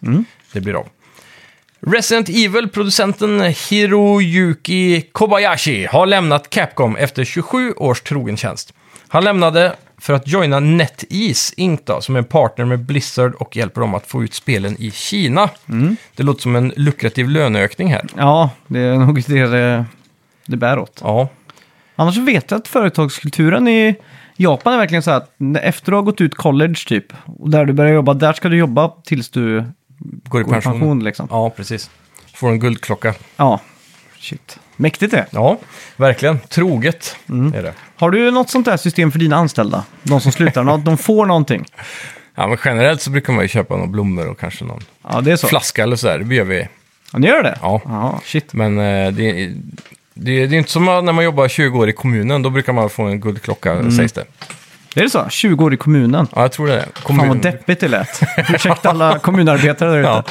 det blir av. Resident Evil-producenten Hiroyuki Kobayashi har lämnat Capcom efter 27 års trogen tjänst. Han lämnade för att joina NetEase Inc. Då, som är en partner med Blizzard och hjälper dem att få ut spelen i Kina. Det låter som en lukrativ löneökning här. Ja, det är nog det det, det bär åt. Ja, Annars vet jag att företagskulturen i Japan är verkligen så här att efter att ha gått ut college typ, och där du börjar jobba, där ska du jobba tills du går i går i pension. pension liksom. Ja, precis. Får en guldklocka. Ja, shit. Mäktigt det. Ja, verkligen. Troget Mm. är det. Har du något sånt där system för dina anställda? De som slutar, att de får någonting? Ja, men generellt så brukar man ju köpa några blommor och kanske någon Ja, det är så. flaska eller sådär. Det gör vi. Ja, ni gör det? Ja. shit. Men eh, det, det, det är inte som när man jobbar 20 år i kommunen. Då brukar man få en guldklocka, sägs det. Det är det så? 20 år i kommunen? Ja, jag tror det. är Kommun. Mm. Fan vad deppigt det lät. Ursäkta alla kommunarbetare där ute. ja.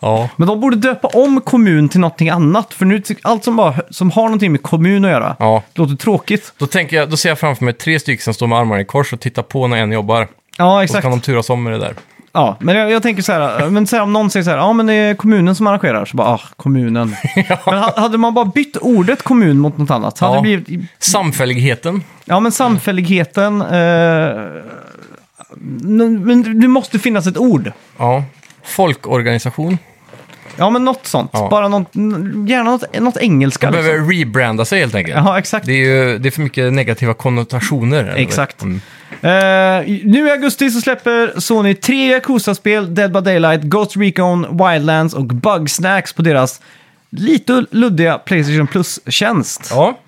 ja, Men de borde döpa om kommun till någonting annat. För nu, tyck- allt som, bara, som har någonting med kommun att göra ja. låter tråkigt. Då, tänker jag, då ser jag framför mig tre stycken som står med armarna i kors och tittar på när en jobbar. Ja, Och så exakt. kan de turas om med det där. Ja, men jag, jag tänker så här, men så här, om någon säger så här, ja men det är kommunen som arrangerar, så bara, ah, kommunen. Men ha- hade man bara bytt ordet kommun mot något annat, så hade Ja. det blivit, Samfälligheten. ja men samfälligheten, eh, men men det måste finnas ett ord. Ja. Folkorganisation. Ja men något sånt, Ja. bara något, gärna något, något engelska. Man Liksom. behöver rebranda sig helt enkelt. Ja, exakt. Det är ju det är för mycket negativa konnotationer. eller? Exakt. Mm. Eh, nu i augusti så släpper Sony tre Yakuza-spel, Dead by Daylight, Ghost Recon, Wildlands och Bugsnacks på deras lite luddiga Playstation Plus-tjänst. Ja,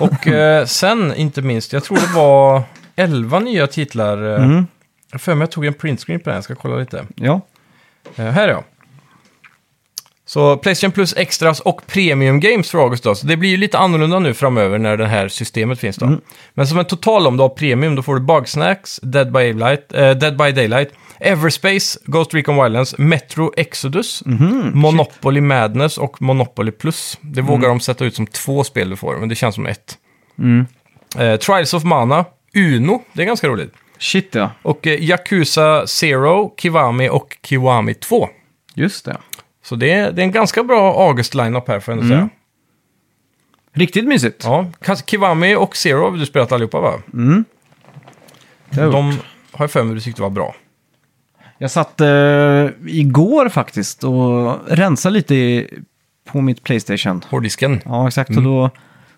och eh, sen inte minst, jag tror det var 11 nya titlar. Eh, Jag för mig jag tog en printscreen på den, jag ska kolla lite. Ja. Eh, här är jag. Så Playstation Plus Extras och Premium Games för August då. Så det blir ju lite annorlunda nu framöver när det här systemet finns då. Men som en total om du har Premium, då får du Bugsnacks, Dead by Daylight, eh, Dead by Daylight Everspace, Ghost Recon Wildlands, Metro Exodus, Monopoly Madness och Monopoly Plus. Det vågar de sätta ut som två spel du får, men det känns som ett. Eh, Trials of Mana, Uno, det är ganska roligt. Shit ja, Och eh, Yakuza Zero, Kiwami och Kiwami 2. just det. Så det är, det är en ganska bra August-lineup här får jag ändå Mm. säga. Riktigt mysigt. Ja, Kas- Kiwami och Zero har du spelat allihopa va? Mm. Det har jag De har jag för mig du tyckte var bra. Jag satt eh, igår faktiskt och rensade lite i, på mitt Playstation. Hårddisken. Ja, exakt. Och då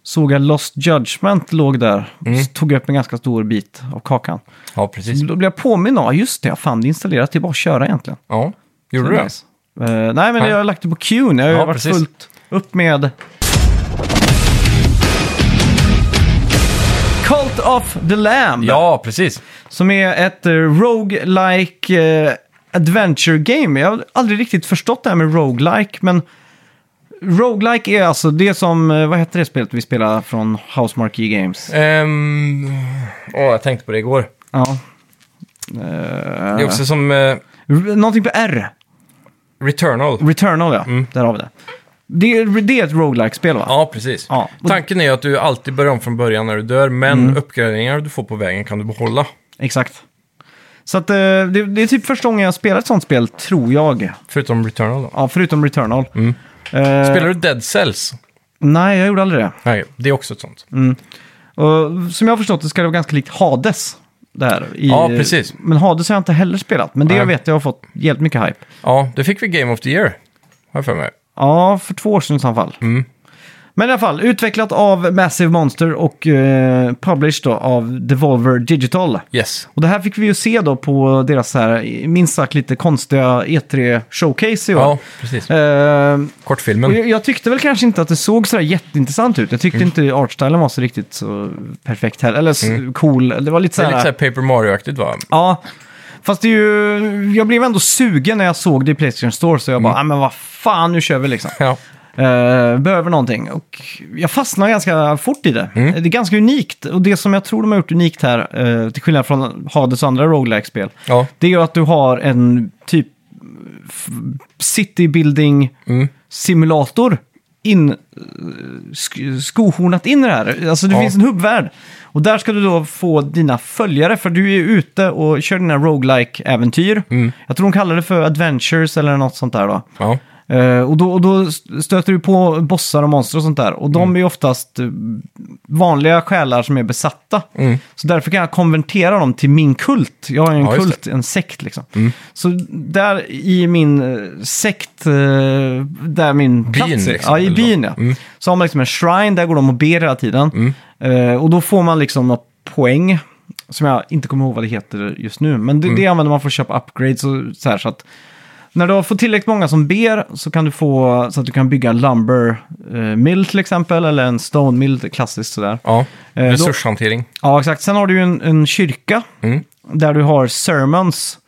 såg jag Lost Judgment låg där. Mm. Så tog jag upp en ganska stor bit av kakan. Ja, precis. Då blev jag påminn om, ja, just det, fan det är installerat, det är bara att köra egentligen. Ja, Så gjorde du det? nice. Eh, nej, men Nej. jag har lagt det på Qn. Jag har Ja, ju varit precis. fullt upp med... Cult of the Lamb. Ja, precis. Som är ett eh, roguelike eh, adventure game. Jag har aldrig riktigt förstått det här med roguelike, men roguelike är alltså det som, eh, vad heter det spelet vi spelar från Housemarque Games? Ehm, Åh, jag tänkte på det igår. Ja. Det är Uh, också som eh, någonting på R. Returnal. Returnal ja, Mm. där har vi det. Det är, det är ett roguelike spel va? Ja, precis. Ja. Mm. Tanken är att du alltid börjar om från början när du dör, men uppgraderingar du får på vägen kan du behålla. Exakt. Så att, eh, det, det är typ första gången jag spelar ett sånt spel, tror jag. Förutom Returnal då. Ja, förutom Returnal. Mm. Eh, Spelar du Dead Cells? Nej, jag gjorde aldrig det. Nej, det är också ett sånt. Mm. Och som jag har förstått det ska det vara ganska likt Hades. Där, i, Ja, precis. Men Hades har jag inte heller spelat, men det Nej. jag vet jag har fått jävligt mycket hype. Ja, det fick vi Game of the Year, har jag för mig. Mm. Ja, för två år sedan i så fall. Men i alla fall, utvecklat av Massive Monster och eh, published då av Devolver Digital. Yes. Och det här fick vi ju se då på deras så här, minst sagt lite konstiga E3-showcase i år. Ja, precis. Eh, och Kortfilmen. jag, jag tyckte väl kanske inte att det såg så där jätteintressant ut. Jag tyckte Mm. inte artstylen var så riktigt så perfekt heller. Eller så cool. Det var lite så Mm. Det är här... lite såhär Paper Mario-aktigt va? Ja, fast det är ju... Jag blev ändå sugen när jag såg det i Playstation Store. Så jag Mm. bara, ah, men vad fan, nu kör vi liksom. Ja. Eh, behöver någonting. Och jag fastnar ganska fort i det. Mm. Det är ganska unikt. Och det som jag tror de har gjort unikt här, eh, till skillnad från Hades och andra roguelike-spel, Ja. det är ju att du har en typ f- citybuilding Mm. simulator in, eh, sk- skohornat in i det här. Alltså det Ja. finns en hubbvärld. Och där ska du då få dina följare, för du är ute och kör dina roguelike äventyr Mm. Jag tror de kallar det för adventures eller något sånt där då. Ja. Eh, och, då, och då stöter du på bossar och monster och sånt där. Och de Mm. är ju oftast eh, vanliga själar som är besatta. Mm. Så därför kan jag konvertera dem till min kult. Jag har ju en Ja, just Mm. kult, en sekt liksom. Så där i min eh, sekt, eh, där min byn, plats är. liksom, ja, i eller byn vad? ja. Så har man liksom en shrine, där går de och ber hela tiden. Eh, och då får man liksom något poäng. Som jag inte kommer ihåg vad det heter just nu. Men det, det använder man för att köpa upgrades och så här. Så att när du har fått tillräckligt många som ber så kan du få så att du kan bygga en lumber eh, mill till exempel. Eller en stone mill, klassiskt sådär. ja. Eh, då- Resurshantering. Ja, exakt. Sen har du ju en, en kyrka Mm. där du har sermons.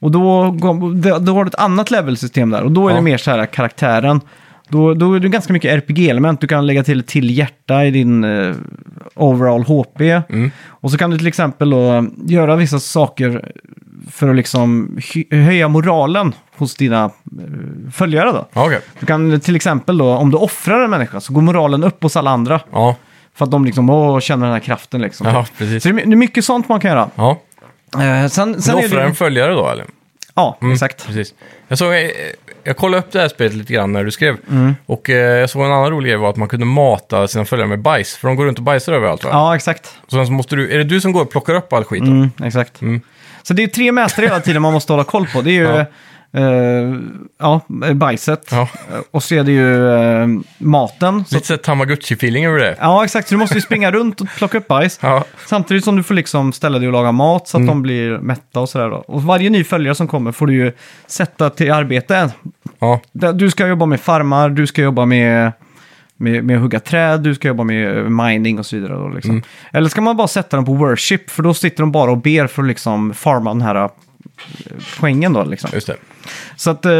Och då, går- då- då har du ett annat levelsystem där och då är Ja. det mer så här karaktären. Då, då är det ganska mycket RPG-element. Du kan lägga till ett till hjärta i din eh, overall HP. Mm. Och så kan du till exempel då eh, göra vissa saker för att liksom hy- höja moralen hos dina eh, följare då. Ja, okej. Du kan till exempel då, om du offrar en människa så går moralen upp hos alla andra. Ja. För att de liksom, åh, känner den här kraften liksom. ja, Så precis. det är my- det är mycket sånt man kan göra. Ja. Eh, sen, Du sen är offrar det... en följare då eller? Ja, Mm. exakt. Precis. Jag, såg, eh, jag kollade upp det här spelet lite grann när du skrev. Mm. Och eh, jag såg en annan rolig grej var att man kunde mata sina följare med bajs. För de går runt och bajsar överallt va? Ja, exakt. Så sen så måste du, är det du som går och plockar upp all skit? då? Mm, exakt. Så det är tre mästare hela tiden man måste hålla koll på. Det är ju Ja. ja. ja, bajset. Ja. Eh, Och så är det ju eh, maten. Så, Lite såhär Tamagotchi-feeling över det. ja, exakt. Så du måste ju springa runt och plocka upp bajs. Ja. Mm. Samtidigt som du får liksom ställa dig och laga mat så att de blir mätta och sådär. då. Och varje ny följare som kommer får du ju sätta till arbete. Ja. Där- Du ska jobba med farmar, du ska jobba med, med, med att hugga träd, du ska jobba med eh, mining och så vidare. Då, liksom. Eller ska man bara sätta dem på worship, för då sitter de bara och ber för att liksom farma den här eh, poängen då liksom. Just det. Så att eh,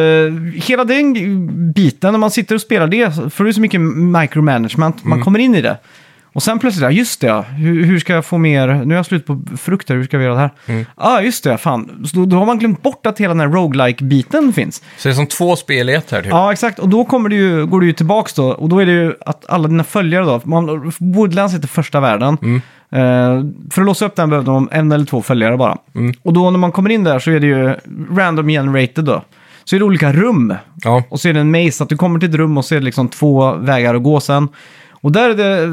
hela den biten, när man sitter och spelar det, för det är så mycket micromanagement, man kommer in i det. Och sen plötsligt, ja just det, ja. hur, hur ska jag få mer, nu är jag slut på frukter, hur ska vi göra det här? Ja, ah, just det, fan. Så då, då har man glömt bort att hela den här roguelike-biten finns. Så det är som två spel i ett här typ? Ja, exakt. Och då kommer du ju, går du ju tillbaka då. Och då är det ju att alla dina följare då. Man, Woodlands heter första världen. Eh, för att låsa upp den behövde de en eller två följare bara. Och då när man kommer in där så är det ju random generated då. Så är det olika rum. Ja. Och så är det en maze, att du kommer till ett rum och så är det liksom två vägar att gå sen. Och där är det...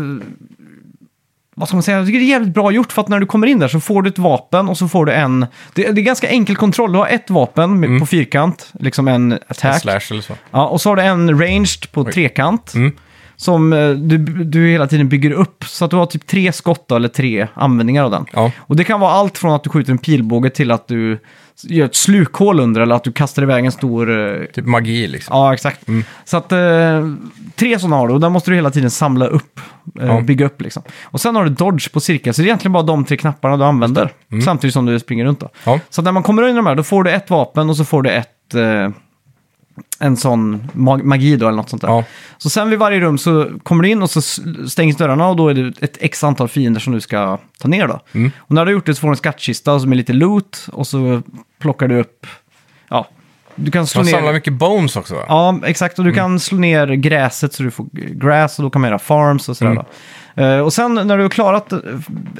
Vad ska man säga? Jag tycker det är jävligt bra gjort för att när du kommer in där så får du ett vapen och så får du en... Det, det är ganska enkel kontroll. Du har ett vapen med, på fyrkant, liksom en attack. Slash eller så. Ja, och så har du en ranged på trekant. Mm. Som eh, du, du hela tiden bygger upp. Så att du har typ tre skott då, eller tre användningar av den. Ja. Och det kan vara allt från att du skjuter en pilbåge till att du gör ett slukhål under eller att du kastar iväg en stor... eh, Typ magi liksom. Ja, exakt. Så att eh, tre sådana har du och där måste du hela tiden samla upp, eh, Ja. bygga upp liksom. Och sen har du dodge på cirkel, så det är egentligen bara de tre knapparna du använder. Mm. Samtidigt som du springer runt då. Ja. Så att när man kommer in i de här, då får du ett vapen och så får du ett... Eh, en sån mag- magi då eller något sånt där. Ja. Så sen vid varje rum så kommer du in och så s- stängs dörrarna och då är det ett x antal fiender som du ska ta ner då. Mm. Och när du har gjort det så får du en skattkista som är lite loot och så plockar du upp, ja, du kan slå Man ner... samlar mycket bones också va? Ja, exakt. Och Mm. du kan slå ner gräset så du får gräs och då kan man göra farms och sådär. Mm. Då. Eh, och sen när du har klarat eh,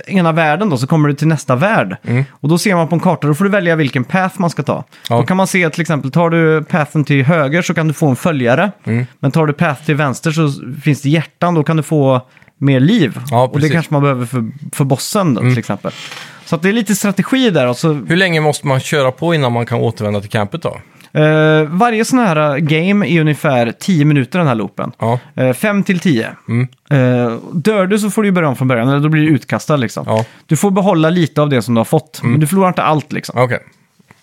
ena världen då så kommer du till nästa värld. Och då ser man på en karta, då får du välja vilken path man ska ta. Mm. Ja. Då kan man se till exempel, tar du pathen till höger så kan du få en följare. Mm. Men tar du path till vänster så finns det hjärtan, då kan du få mer liv. Ja, och det precis. Mm. kanske man behöver för, för bossen då, till exempel. Så att det är lite strategi där. alltså, Och så Hur länge måste man köra på innan man kan återvända till campet då? Eh, varje sån här eh, game är ungefär 10 minuter den här loopen. Ja, 5 Eh, till 10. Mm. Eh, dör du så får du ju börja om från början, eller då blir du utkastad liksom. ja, Mm. Du får behålla lite av det som du har fått, men du förlorar inte allt liksom. okej.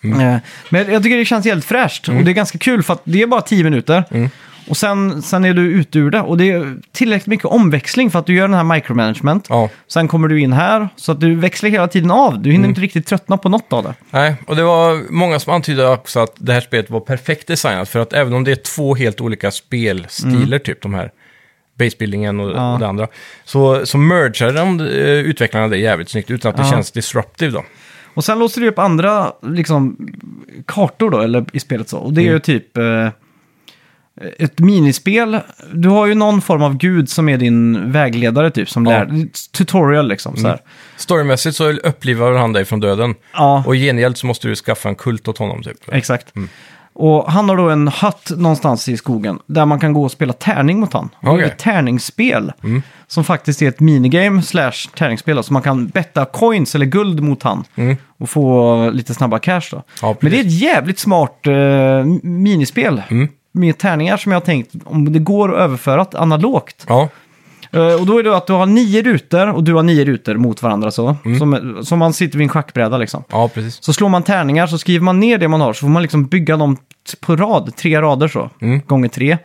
Mm. Eh, Men jag tycker det känns helt fräscht och det är ganska kul för att det är bara 10 minuter. Mm. Och sen, sen är du ute ur det och det är tillräckligt mycket omväxling för att du gör den här micromanagement. Ja. Sen kommer du in här, så att du växlar hela tiden av. Du hinner Mm. inte riktigt tröttna på något av det. Nej, och det var många som antydde också att det här spelet var perfekt designat. För att även om det är två helt olika spelstilar, typ de här basebuildingen och, Mm. Ja. och det andra, så, så mergade de eh, utvecklarna det jävligt snyggt utan att det Ja. känns disruptive då. Och sen låser du upp andra liksom, kartor då, eller i spelet så. Och det är ju typ eh, ett minispel. Du har ju någon form av gud som är din vägledare typ, som Ja. lär. det är ett Tutorial liksom så här. Storymässigt så upplivar han dig från döden. Ja. Och i gengäld så måste du skaffa en kult åt honom typ. Exakt. Och han har då en hatt någonstans i skogen där man kan gå och spela tärning mot han. Och Det är Okej. Mm. ett tärningsspel som faktiskt är ett minigame slash tärningsspel. då, Så man kan betta coins eller guld mot han och få lite snabba cash då. Mm. Ja, Men det är ett jävligt smart eh, minispel. Mm. Med tärningar som jag har tänkt om det går att överföra analogt. Ja, Eh, och då är det att du har nio rutor och du har nio rutor mot varandra så. Mm. Som, som man sitter vid en schackbräda liksom. ja precis. Så slår man tärningar så skriver man ner det man har så får man liksom bygga dem t- på rad, tre rader så, Mm. gånger tre.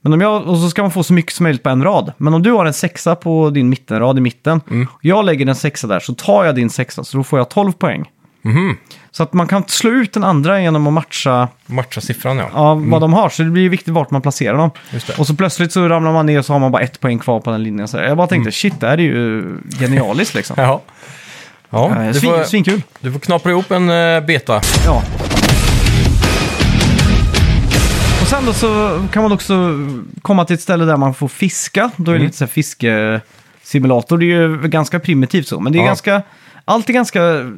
Men om jag, och så ska man få så mycket som möjligt på en rad. Men om du har en sexa på din mittenrad i mitten, Mm. och jag lägger en sexa där så tar jag din sexa så då får jag 12 poäng. Mhm. Så att man kan slå ut den andra genom att matcha Matcha siffran ja. ja, vad de har. Så det blir ju viktigt vart man placerar dem. Mm. Just det. Och så plötsligt så ramlar man ner och så har man bara ett poäng kvar på den linjen. Så jag bara Mm. tänkte, shit, det här är ju genialiskt liksom. Ja, ja Eh, du, Svin, får, Svinkul. du får knapra ihop en eh, beta. Ja. Och sen då så kan man också komma till ett ställe där man får fiska. Då är det lite så här fiskesimulator. Det är ju ganska primitivt så, men det är Ja. ganska... Allt är ganska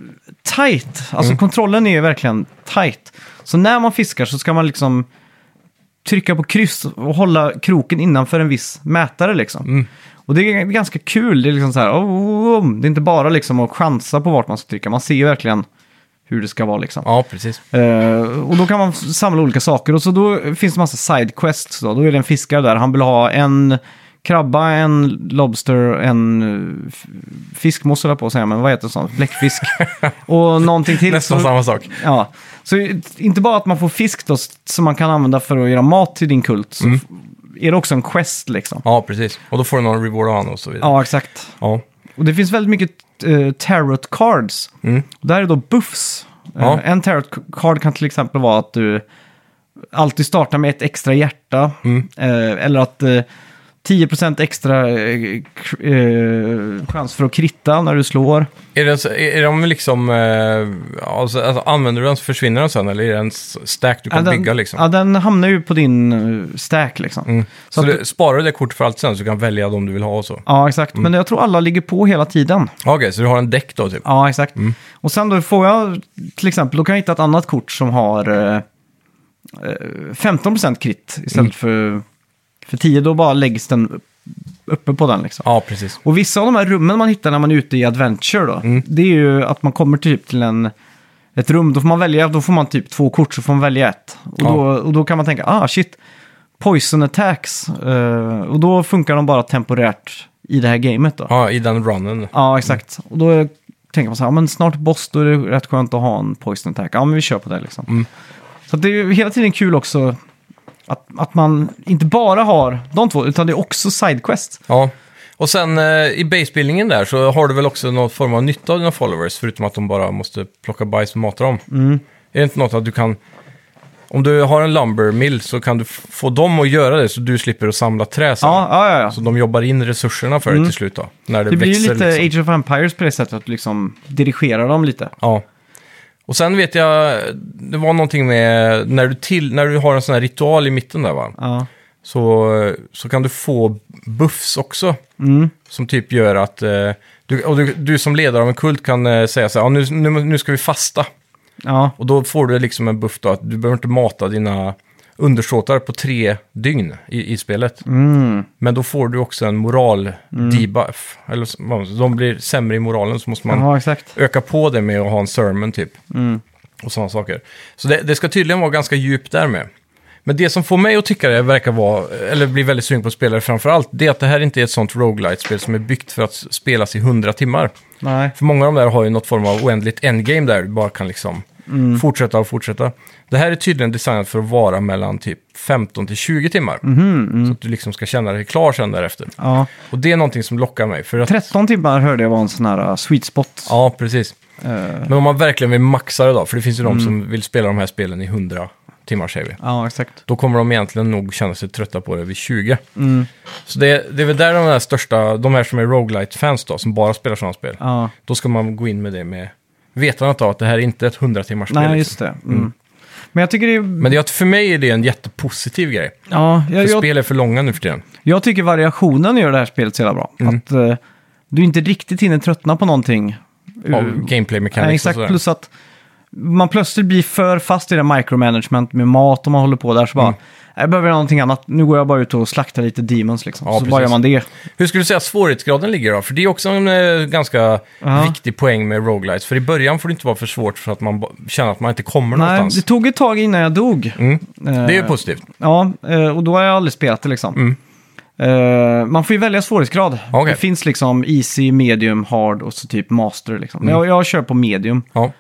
tight. Alltså kontrollen är ju verkligen tight. Så när man fiskar så ska man liksom trycka på kryss och hålla kroken innanför en viss mätare liksom. Och det är ganska kul. Det är liksom så här, oh, oh, oh. det är inte bara liksom att chansa på vart man ska trycka. Man ser ju verkligen hur det ska vara liksom. Ja, precis. Eh, och då kan man samla olika saker. Och så då finns det massa side quests. Då. då är det en fiskare där. Han vill ha en krabba, en lobster, en eh, f- fiskmås höll jag på att säga, men vad heter det sånt? Bläckfisk. och någonting till. Nästan Så- samma sak. Ja, så inte bara att man får fisk då, som man kan använda för att göra mat till din kult, Mm. så f- är det också en quest liksom. Ja, precis. Och då får du någon reward av honom och så vidare. Ja, exakt. Ja. Och det finns väldigt mycket eh, tarot cards. Där är då buffs. Eh, Mm. Ja. en tarot card kan till exempel vara att du alltid startar med ett extra hjärta. Mm. Eh, eller att eh, 10% extra eh, kr- eh, chans för att kritta när du slår. Är, det, så- är är de liksom... Eh, alltså, alltså, använder du den så försvinner den sen eller är det en s- stack du kan ja, den, bygga liksom? Mm. Ja, den hamnar ju på din eh, stack liksom. så att du, sparar du det kortet för allt sen så du kan välja de du vill ha och så? Ja, exakt. Men jag tror alla ligger på hela tiden. Okej, så du har en däck då typ? Ja, exakt. Och sen då får jag, till exempel, då kan jag hitta ett annat kort som har eh, eh, 15% krit istället för, för 10. Då bara läggs den upp- uppe på den liksom. Ja, precis. Och vissa av de här rummen man hittar när man är ute i Adventure då, det är ju att man kommer typ till en, ett rum, då får man välja, då får man typ två kort så får man välja ett. Och, Ja. då, och då kan man tänka, ah shit, poison attacks. Eh, och då funkar de bara temporärt i det här gamet då. Ja, i den runnen. Ja, exakt. Mm. Och då är- tänker man så här, ja, men snart boss, då är det rätt skönt att ha en poison attack. Ja, men vi kör på det liksom. Mm. Så att det är ju hela tiden kul också att, att man inte bara har de två, utan det är också sidequest. Ja. Och sen eh, i basebuildingen där så har du väl också någon form av nytta av dina followers förutom att de bara måste plocka bajs och mata dem. Mm. Är det inte något att du kan... Om du har en lumber mill så kan du f- få dem att göra det så du slipper att samla trä sen. Ja, ja, ja. ja. Så de jobbar in resurserna för dig till slut då? När det, Det blir ju växer lite liksom. Age of Empires på det sättet, att du liksom dirigerar dem lite. Ja. Och sen vet jag, det var någonting med när du, till, när du har en sån här ritual i mitten där va? Ja, Så, så kan du få buffs också. Som typ gör att eh, du, och du, du som ledare av en kult kan eh, säga så här, ja, nu, nu, nu ska vi fasta. ja, Och då får du liksom en buff då att du behöver inte mata dina undersåtar på tre dygn i, i spelet. Men då får du också en moral-debuff. Eller så- vad- de blir sämre i moralen så måste man ja exakt. öka på det med att ha en sermon typ. och sådana saker. Så det, det ska tydligen vara ganska djupt där med. Men det som får mig att tycka det verkar vara, eller bli väldigt sugen på spelare framför allt, det är att det här inte är ett sånt roguelite-spel som är byggt för att s- spelas i hundra timmar. Nej. För många av de där har ju något form av oändligt endgame där du bara kan liksom fortsätta och fortsätta. Det här är tydligen designat för att vara mellan typ 15 till 20 timmar. Så att du liksom ska känna dig klar sen därefter. Ja. Och det är någonting som lockar mig. För att, 13 timmar hörde jag var en sån här uh, sweet spot. ja, precis. Eh, Mm. Men om man verkligen vill maxa det då, för det finns ju de som vill spela de här spelen i 100 timmar säger vi. ja, exakt. Då kommer de egentligen nog känna sig trötta på det vid 20. Mm. Så det, det är väl där de här största, de här som är roguelite fans då, som bara spelar sådana spel. Ja. Då ska man gå in med det med vetandet av att det här är inte ett 100 timmars spel. Nej, liksom. just det. Mm. Men jag tycker det är... Men det, är att för mig är det en jättepositiv grej. Ja, För jag, jag, spel är för långa nu för tiden. jag tycker variationen gör det här spelet så jävla bra. Mm. Att eh, du inte riktigt hinner tröttna på någonting. Av Nej, gameplay mechanics och exakt. sådär. Plus att man plötsligt blir för fast i det micromanagement med mat och man håller på där. Så bara, "Äh, Mm. jag behöver någonting annat. Nu går jag bara ut och slaktar lite demons liksom. Ja, så bara gör precis. man det. Hur skulle du säga att svårighetsgraden ligger då? För det är också en eh, ganska Ja. viktig poäng med roguelites. För i början får det inte vara för svårt för att man ba- känner att man inte kommer Nej, det någonstans. tog ett tag innan jag dog. Mm. Eh, Det är ju positivt. Ja, eh, och då har jag aldrig spelat det liksom. Mm. Eh, man får ju välja svårighetsgrad. Okej. Det finns liksom easy, medium, hard och så typ master. Liksom. Men jag, Mm. jag kör på medium. Ja.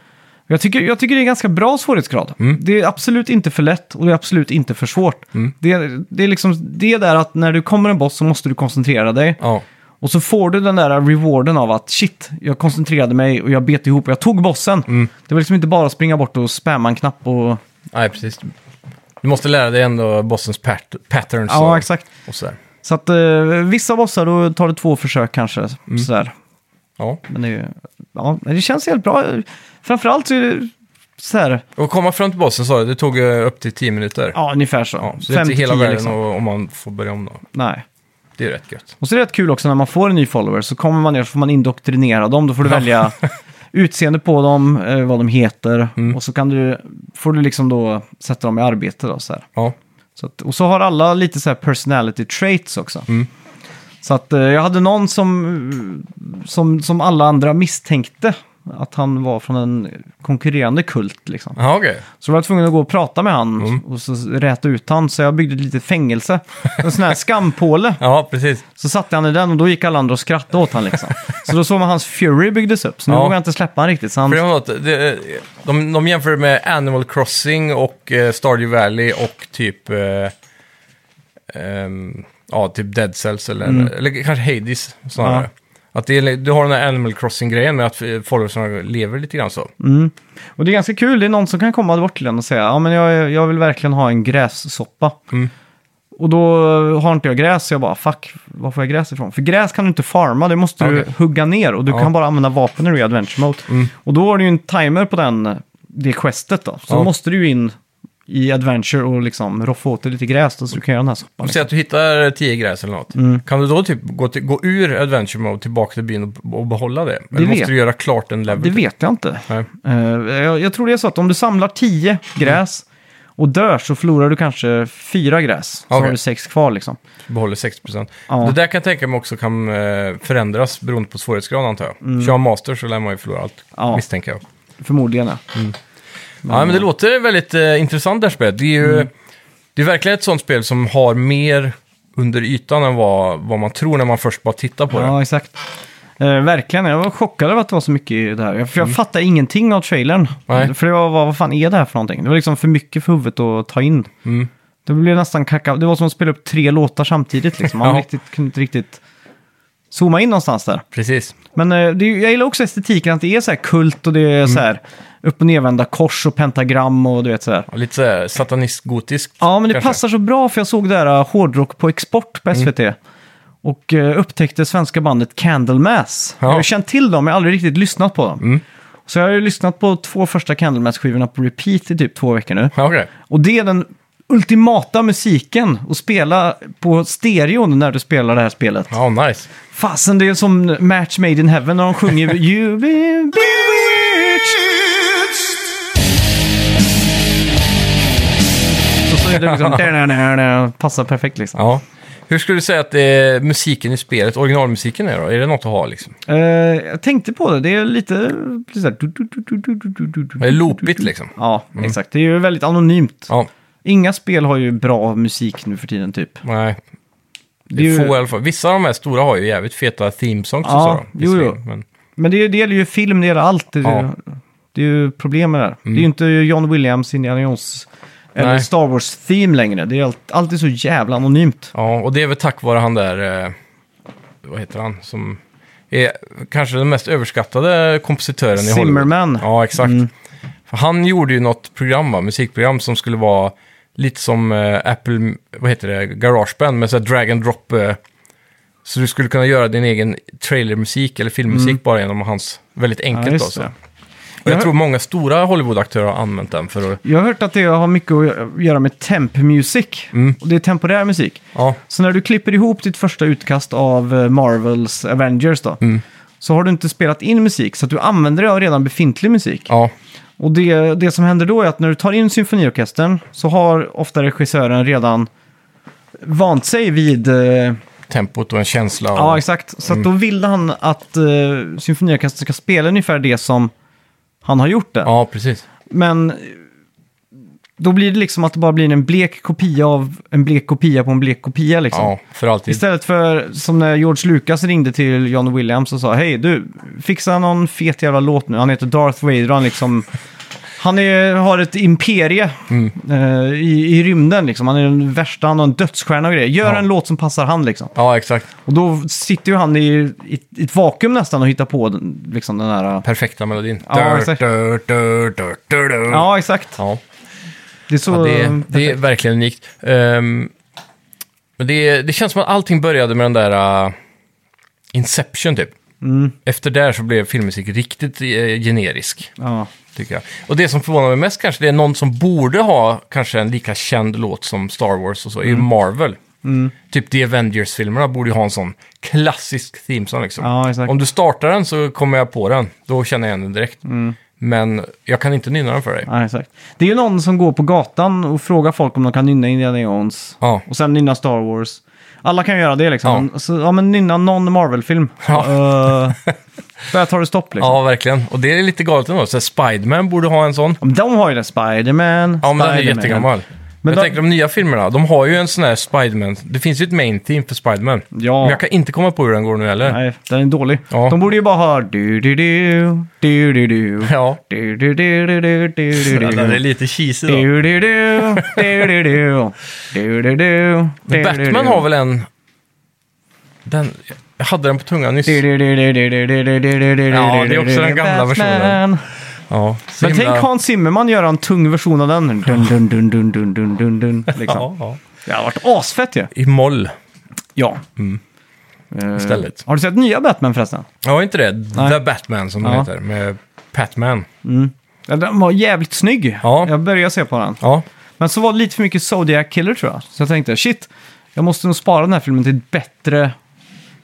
Jag tycker, jag tycker det är en ganska bra svårighetsgrad. Mm. Det är absolut inte för lätt och det är absolut inte för svårt. Det, är- det är liksom det är där att när du kommer en boss så måste du koncentrera dig. Ja. Och så får du den där rewarden av att shit, jag koncentrerade mig och jag bet ihop och jag tog bossen. Mm. Det var liksom inte bara att springa bort och spamma en knapp och... Nej, precis. Du måste lära dig ändå bossens pat patterns Ja, och, exakt. och sådär. Så att eh, vissa bossar då tar det två försök kanske. Mm. Sådär. Ja. Men det, är ju- ja, men det känns helt bra. Framförallt så är det så här, Och komma fram till bossen sa du, det tog eh, upp till 10 minuter. ja ungefär så. Ja, så det är inte till hela 10 världen liksom. och- om man får börja om då. Nej. Det är rätt gött. Och så är det rätt kul också när man får en ny follower så kommer man ner så får man indoktrinera dem. Då får du välja utseende på dem, eh, vad de heter och så kan du, får du liksom då sätta dem i arbete. Då, så här. Ja. Så att, och så har alla lite så här personality traits också. Så att eh, jag hade någon som, eh, som, som alla andra misstänkte att han var från en konkurrerande kult. Liksom. Ja, okej. Så jag var tvungen att gå och prata med han och så räta ut han. Så jag byggde ett litet fängelse, en sån här skampåle. Ja, precis. Så satte han i den och då gick alla andra och skrattade åt han liksom. Så då såg man hans Fury byggdes upp, så nu Ja. vågar jag inte släppa han riktigt. Så han, För det var något, det, de, de jämför med Animal Crossing och eh, Stardew Valley och typ... Eh, ehm, ja, typ Dead Cells eller, Mm. eller kanske Hades snarare. Att det är, du har den här Animal Crossing-grejen med att eh, followersarna lever lite grann så. Mm. Och det är ganska kul, det är någon som kan komma bort till en och säga ja men jag, jag vill verkligen ha en grässoppa. Mm. Och då har inte jag gräs, så jag bara fuck, var får jag gräs ifrån? För gräs kan du inte farma, det måste du Okej. hugga ner och du Ja. Mm. kan bara använda vapen när du är i adventure mode. Och då har du ju en timer på den, det questet då. Så Ja. då måste du ju in i adventure och liksom roffa åt dig lite gräs då, så du kan göra den här soppan. Säg att du hittar 10 gräs eller något. Mm. Kan du då typ gå, till, gå ur Adventure Mode tillbaka till byn och, och behålla det? Eller måste vet- du göra klart en level? Det vet jag inte. Nej. Eh, jag, jag tror det är så att om du samlar 10 gräs och dör så förlorar du kanske fyra gräs. Så Okej. har du sex kvar liksom. Behåller 60%. Ja. Det där kan jag tänka mig också kan eh, förändras beroende på svårighetsgrad antar jag. Kör master så lär man ju förlora allt, Mm. Ja. misstänker jag. Förmodligen ja. Ja, men det låter väldigt eh, intressant det här spelet. Det är ju Mm. det är verkligen ett sånt spel som har mer under ytan än vad, vad man tror när man först bara tittar på det. Ja, exakt. Eh, verkligen, jag var chockad över att det var så mycket i det här. Jag- För jag fattade ingenting av trailern. Mm. Nej. För det var, vad, vad fan är det här för någonting? Det var liksom för mycket för huvudet att ta in. Mm. Det blev nästan kacka. Det var som att spela upp tre låtar samtidigt liksom. Man Ja. riktigt, kunde inte riktigt zooma in någonstans där. Precis. Men eh, det, är ju- jag gillar också estetiken att det är så här kult och det är så här upp och nervända kors och pentagram och du vet så här. Ja, Lite såhär satanist-gotiskt. Ja, men det kanske. Mm. passar så bra för jag såg det här eh, hårdrock på export på SVT. Och eh, upptäckte svenska bandet Candlemass. Ja. Mm. Jag har känt till dem, men jag har aldrig riktigt lyssnat på dem. Så jag har ju lyssnat på två första Candlemass-skivorna på repeat i typ två veckor nu. Ja, okej. Och det är den ultimata musiken att spela på stereon när du spelar det här spelet. Ja, nice. Fasen, det är som Match Made in Heaven när de sjunger You be bewitched. Och så är det liksom... Passar perfekt liksom. Ja. Hur skulle du säga att det är musiken i spelet, originalmusiken är då? Är det något att ha liksom? Eh, jag tänkte på det, det är lite... lite så här, du, du, du, du, du, du, du, du, Det är loopigt liksom. Ja, exakt. Det är ju väldigt anonymt. Ja, Inga spel har ju bra musik nu för tiden typ. nej. Det Det är är ju- få i alla fall. Vissa av de här stora har ju jävligt feta themesongs och Ja, så. då, jo, visserligen, jo. Men, Men det, är ju- det gäller ju film, det gäller allt. Det, är ju- Ja. Mm. det är ju problem med det här. Det är ju inte John Williams, Indiana Jones eller Nej. Star Wars-theme längre. Det är allt, allt är så jävla anonymt. ja, och det är väl tack vare han där, eh, vad heter han, som är kanske den mest överskattade kompositören i Hollywood. Zimmerman. Mm. Ja, exakt. För han gjorde ju något program, va? musikprogram som skulle vara lite som eh, Apple, vad heter det, Garageband med så här drag and drop. Eh, så du skulle kunna göra din egen trailermusik eller filmmusik bara genom hans, väldigt Mm. Ja, enkelt. just alltså. det. Och jag Jag- tror många stora Hollywood-aktörer har använt den för att, Jag har hört att det har mycket att gö- göra med temp music. Mm. Och det är temporär musik. ja, Så när du klipper ihop ditt första utkast av eh, Marvels Avengers då. Så har du inte spelat in musik, så att du använder dig av redan befintlig musik. ja, Och det, det som händer då är att när du tar in symfoniorkestern så har ofta regissören redan vant sig vid... Eh, tempot och en känsla. Och, Ja, exakt. Så att då ville han att eh, symfoniorkestern ska spela ungefär det som han har gjort det. ja, precis. Men eh, då blir det liksom att det bara blir en blek kopia av en blek kopia på en blek kopia liksom. Ja, för alltid. Istället för som när George Lucas ringde till John Williams och sa Hej du, fixa någon fet jävla låt nu. Han heter Darth Vader och han liksom... Han är, har ett imperie Mm. eh, i, i rymden liksom. Han är den värsta, han har en dödsstjärna och grejer. Gör Ja. en låt som passar han liksom. Ja, exakt. Och då sitter ju han i, i, i ett vakuum nästan och hittar på den, liksom den här... Perfekta melodin. Ja, exakt. Dur, dur, dur, dur, dur. Ja, Mm, exakt. ja. Det är så... Ja, det, är- det är verkligen unikt. Ehm, men det, är- det känns som att allting började med den där ah, Inception typ. Mm. Efter där så blev filmmusik riktigt eh, generisk, ja. tycker jag. Och det som förvånar mig mest kanske, det är någon som borde ha kanske en lika känd låt som Star Wars och så, Mm. är ju Marvel. Typ The Avengers-filmerna borde ju ha en sån klassisk themesong liksom. ja, exakt. Om du startar den så kommer jag på den, då känner jag igen den direkt. Mm. Men jag kan inte nynna den för dig. Ja, exakt. Det är ju någon som går på gatan och frågar folk om de kan nynna Indiana Jones. Ja. Och sen nynna Star Wars. Alla kan göra det liksom. Ja, så, ja men nynna någon Marvel-film. Ja. Eh, där tar det stopp liksom. Ja, verkligen. Och det är lite galet ändå. Så Spiderman borde ha en sån. Ja, men De har ju det, Spider-Man, Ja, men den är Spider-Man. jättegammal. Men Men jag då- tänker de nya filmerna, de har ju en sån här Spiderman. Det finns ju ett main team för Spiderman. Ja. Men jag kan inte komma på hur den går nu heller. Nej, den är dålig. Ja. De borde ju bara ha du-du-du, du-du-du, Ja. du-du-du-du-du, du-du-du. Den är lite cheesy då. Du-du-du, du-du-du, du-du-du, Men Batman du-du-du. har väl en... Den... Jag hade den på tungan nyss. Ja, det är också den gamla versionen. Ja, så Men himla- tänk Hans Zimmerman göra en tung version av den. Dun, dun, dun, dun, dun, dun, dun, dun, liksom. Ja, ja. Det har varit asfett ju. I moll Ja. istället. Har du sett nya Batman förresten? Ja, inte det. The Batman som den Ja. heter. Med Patman. Ja, den var jävligt snygg. Ja. Jag började se på den. Ja. Men så var det lite för mycket Zodiac Killer tror jag. Så jag tänkte, shit, jag måste nog spara den här filmen till ett bättre,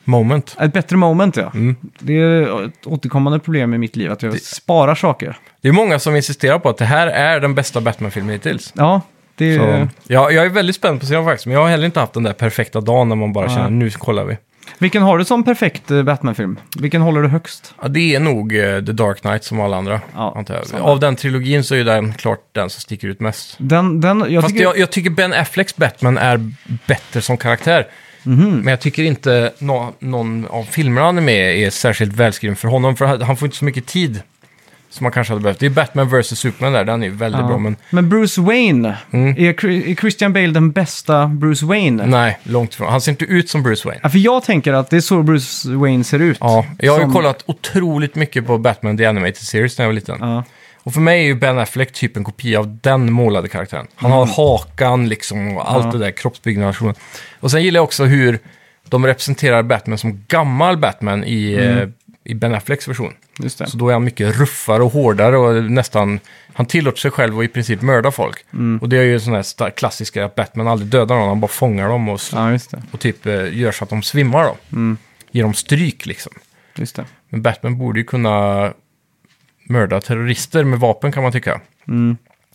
Moment. ett bättre moment. Ja. Mm. Det är ett återkommande problem i mitt liv, att jag sparar saker. Det är många som insisterar på att det här är den bästa Batman-filmen hittills. Ja, det är... Så, ja, jag är väldigt spänd på att se dem faktiskt, men jag har heller inte haft den där perfekta dagen när man bara känner nu kollar vi. Vilken har du som perfekt eh, Batman-film? Vilken håller du högst? Ja, det är nog eh, The Dark Knight som alla andra. Ja, antar jag. samma. Av den trilogin så är den klart den som sticker ut mest. Den, den, jag Fast tycker... jag, jag tycker Ben Afflecks Batman är bättre som karaktär. Mhm. Men jag tycker inte nå- någon av filmerna han är med i är särskilt välskriven för honom, för han han får inte så mycket tid som man kanske hade behövt. Det är Batman vs. Superman där, den är ju väldigt Ja. bra, men Mm. Men Bruce Wayne, är, Chri- är Christian Bale den bästa Bruce Wayne? nej, långt ifrån. Han ser inte ut som Bruce Wayne. Ja, för jag tänker att det är så Bruce Wayne ser ut. Ja, jag har ju Som- kollat otroligt mycket på Batman The Animated Series när jag var liten. Ja. Och för mig är ju Ben Affleck typ en kopia av den målade karaktären. Han har Mm. hakan liksom och allt det där, kroppsbyggnationen. Och sen gillar jag också hur de representerar Batman som gammal Batman i, Mm. eh, i Ben Afflecks version. Just det. Så då är han mycket ruffare och hårdare och nästan... Han tillåter sig själv att i princip mörda folk. Mm. Och det är ju sån här sta- klassiska att Batman aldrig dödar någon, han bara fångar dem och, Ja, Mm. just det. och typ eh, gör så att de svimmar då. Ger dem stryk liksom. Just det. Men Mm. Batman borde ju kunna mörda terrorister med vapen kan man tycka.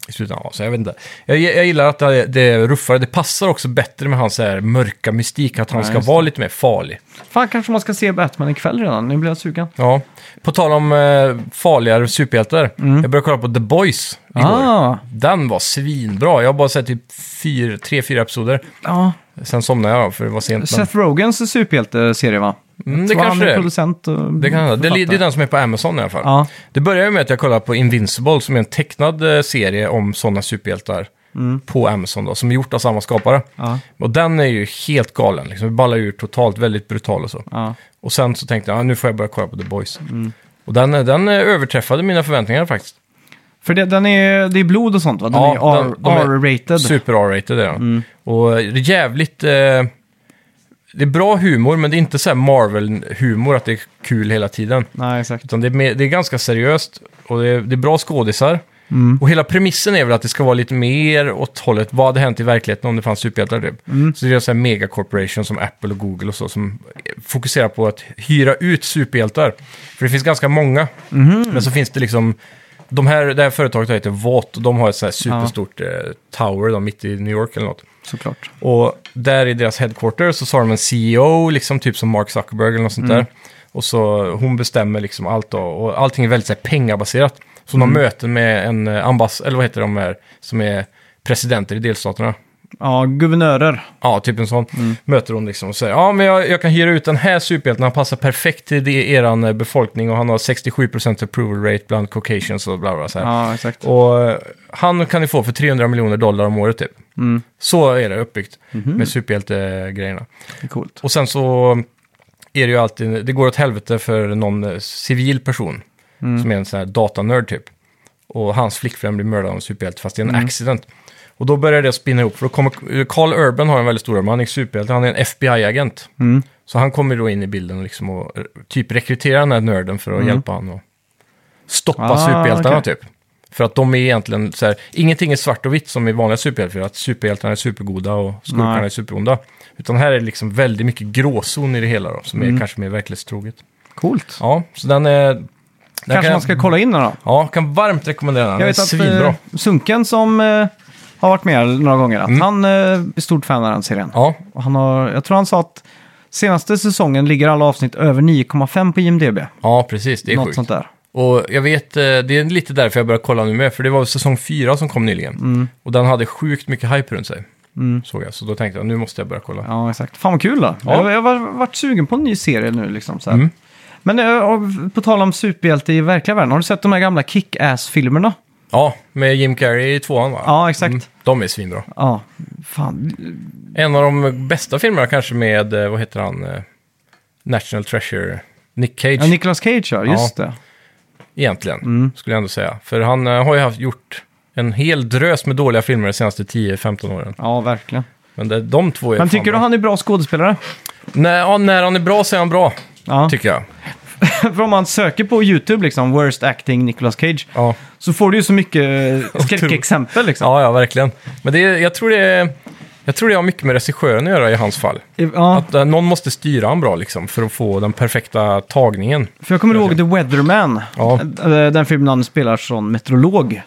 i slutändan. Ja, Så jag vet inte. Jag, jag gillar att det, det är ruffare. Det passar också bättre med hans så här mörka mystik, att han Ja, ska just vara lite mer farlig. Fan, kanske man ska se Batman ikväll redan. Nu blir jag sugen. Ja. På tal om eh, farligare superhjältar. Jag började kolla på The Boys igår. Mm. Ah. Den var svinbra. Jag har bara sett typ fyr, tre, fyra episoder. Ja, Sen somnade jag för det var sent. Men... Seth Rogans superhjälteserie va? Mm, det Så kanske han det är är. producent och Det kan hända. Det, li- det författare. är den som är på Amazon i alla fall. Ja. Det börjar ju med att jag kollade på Invincible som är en tecknad eh, serie om sådana superhjältar Mm. på Amazon då, som är gjort av samma skapare. Ja. Och den är ju helt galen, liksom. Vi ballar ur totalt, väldigt brutal och så. Ja. Och sen så tänkte jag, ah, nu får jag börja kolla på The Boys. Mm. Och den, eh, den eh, överträffade mina förväntningar faktiskt. För det, den är, det är blod och sånt va? Den Ja, är R- den- de är R-rated. Mm. Super R-rated är den. Och det är jävligt... Eh, det är bra humor, men det är inte så här Marvel-humor, att det är kul hela tiden. Nej, exakt. Utan det är, mer, det är ganska seriöst och det är, det är bra skådisar. Mm. Och hela premissen är väl att det ska vara lite mer åt hållet, vad hade hänt i verkligheten om det fanns superhjältar? Typ. Så det är så här megacorporation som Apple och Google och så, som fokuserar på att hyra ut superhjältar. För det finns ganska många, men så finns det liksom, de här, det här företaget heter Vought och de har ett så här superstort eh, tower då, mitt i New York eller något. Såklart. Och där i deras headquarters så har de en CEO, liksom typ som Mark Zuckerberg eller något sånt där. Och så hon bestämmer liksom allt då, och allting är väldigt så här, pengabaserat. Så hon har möten med en eh, ambass, eller vad heter de här, som är presidenter i delstaterna. Ja, guvernörer. Ja, typ en sån. Möter hon liksom och säger, ja men jag, jag kan hyra ut den här superhjälten, han passar perfekt till det, eran eh, befolkning och han har 67% approval rate bland caucasians och bla bla så här. Ja, exakt. Och eh, han kan ni få för 300 miljoner dollar om året typ. Mm. Så är det uppbyggt Mhm. med superhjältegrejerna. Det är coolt. Och sen så är det ju alltid, det går åt helvete för någon eh, civil person Mm. som är en sån här datanörd typ. Och hans flickvän blir mördad av en superhjälte fast det är Mm. en accident. Och då börjar det spinna ihop, för då kommer, eh, Carl Urban har en väldigt stor roll, men han är superhjälte, han är en FBI-agent. Mm. Så han kommer då in i bilden och liksom och eh, typ rekryterar den här nörden för att hjälpa honom och stoppa Mm. Ah, superhjältarna okej. typ. För att de är egentligen så här, ingenting är svart och vitt som i vanliga superhjältar, att superhjältarna är supergoda och skurkarna Nej. är superonda. Utan här är det liksom väldigt mycket gråzon i det hela då, som är Mm. kanske mer verklighetstroget. Coolt. Ja, så den är... Den Kanske kan, man ska kolla in den då. Ja, kan varmt rekommendera den. Jag Den är vet att svinbra. eh, Sunken som eh, har varit med några gånger, att Mm. han eh, är stort fan av den serien. Ja, Och han har, jag tror han sa att senaste säsongen ligger alla avsnitt över 9,5 på IMDB. ja, precis. Det är Något sjukt. sånt där. Och jag vet, eh, det är lite därför jag började kolla nu med, för det var säsong fyra som kom nyligen. Mm. Och den hade sjukt mycket hype runt sig. Såg jag, så då tänkte jag nu måste jag börja kolla. Ja, exakt. Fan vad kul då. Ja. Jag, jag har varit sugen på en ny serie nu liksom. Så här. Mm. Men eh, och på tal om superhjälte i verkliga världen, har du sett de här gamla Kick-Ass-filmerna? Ja, med Jim Carrey i tvåan va? Mm. Ja, exakt. De är svinbra. Ja, fan. En av de bästa filmerna kanske med, eh, vad heter han, eh, National Treasure, Nick Cage Ja, Mm. Nicolas Cage, ja. Just det. egentligen, skulle jag ändå säga. För han eh, har ju haft, gjort en hel drös med dåliga filmer de senaste 10-15 åren. Ja, verkligen. Men det, de två är Men fan tycker du bra. han är bra skådespelare? När, ja, när han är bra så är han bra, Ja. tycker jag. För om man söker på YouTube, liksom, worst acting Nicolas Cage, Ja. så får du ju så mycket eh, skräckexempel, liksom. Ja, ja, verkligen. Men det, är- jag, tror det, är- jag tror det har mycket med regissören att göra i hans fall. Ja, Att eh, någon måste styra han bra liksom, för att få den perfekta tagningen. för jag kommer ihåg The Weatherman, Ja. Mm. eh, den filmen han spelar som meteorolog.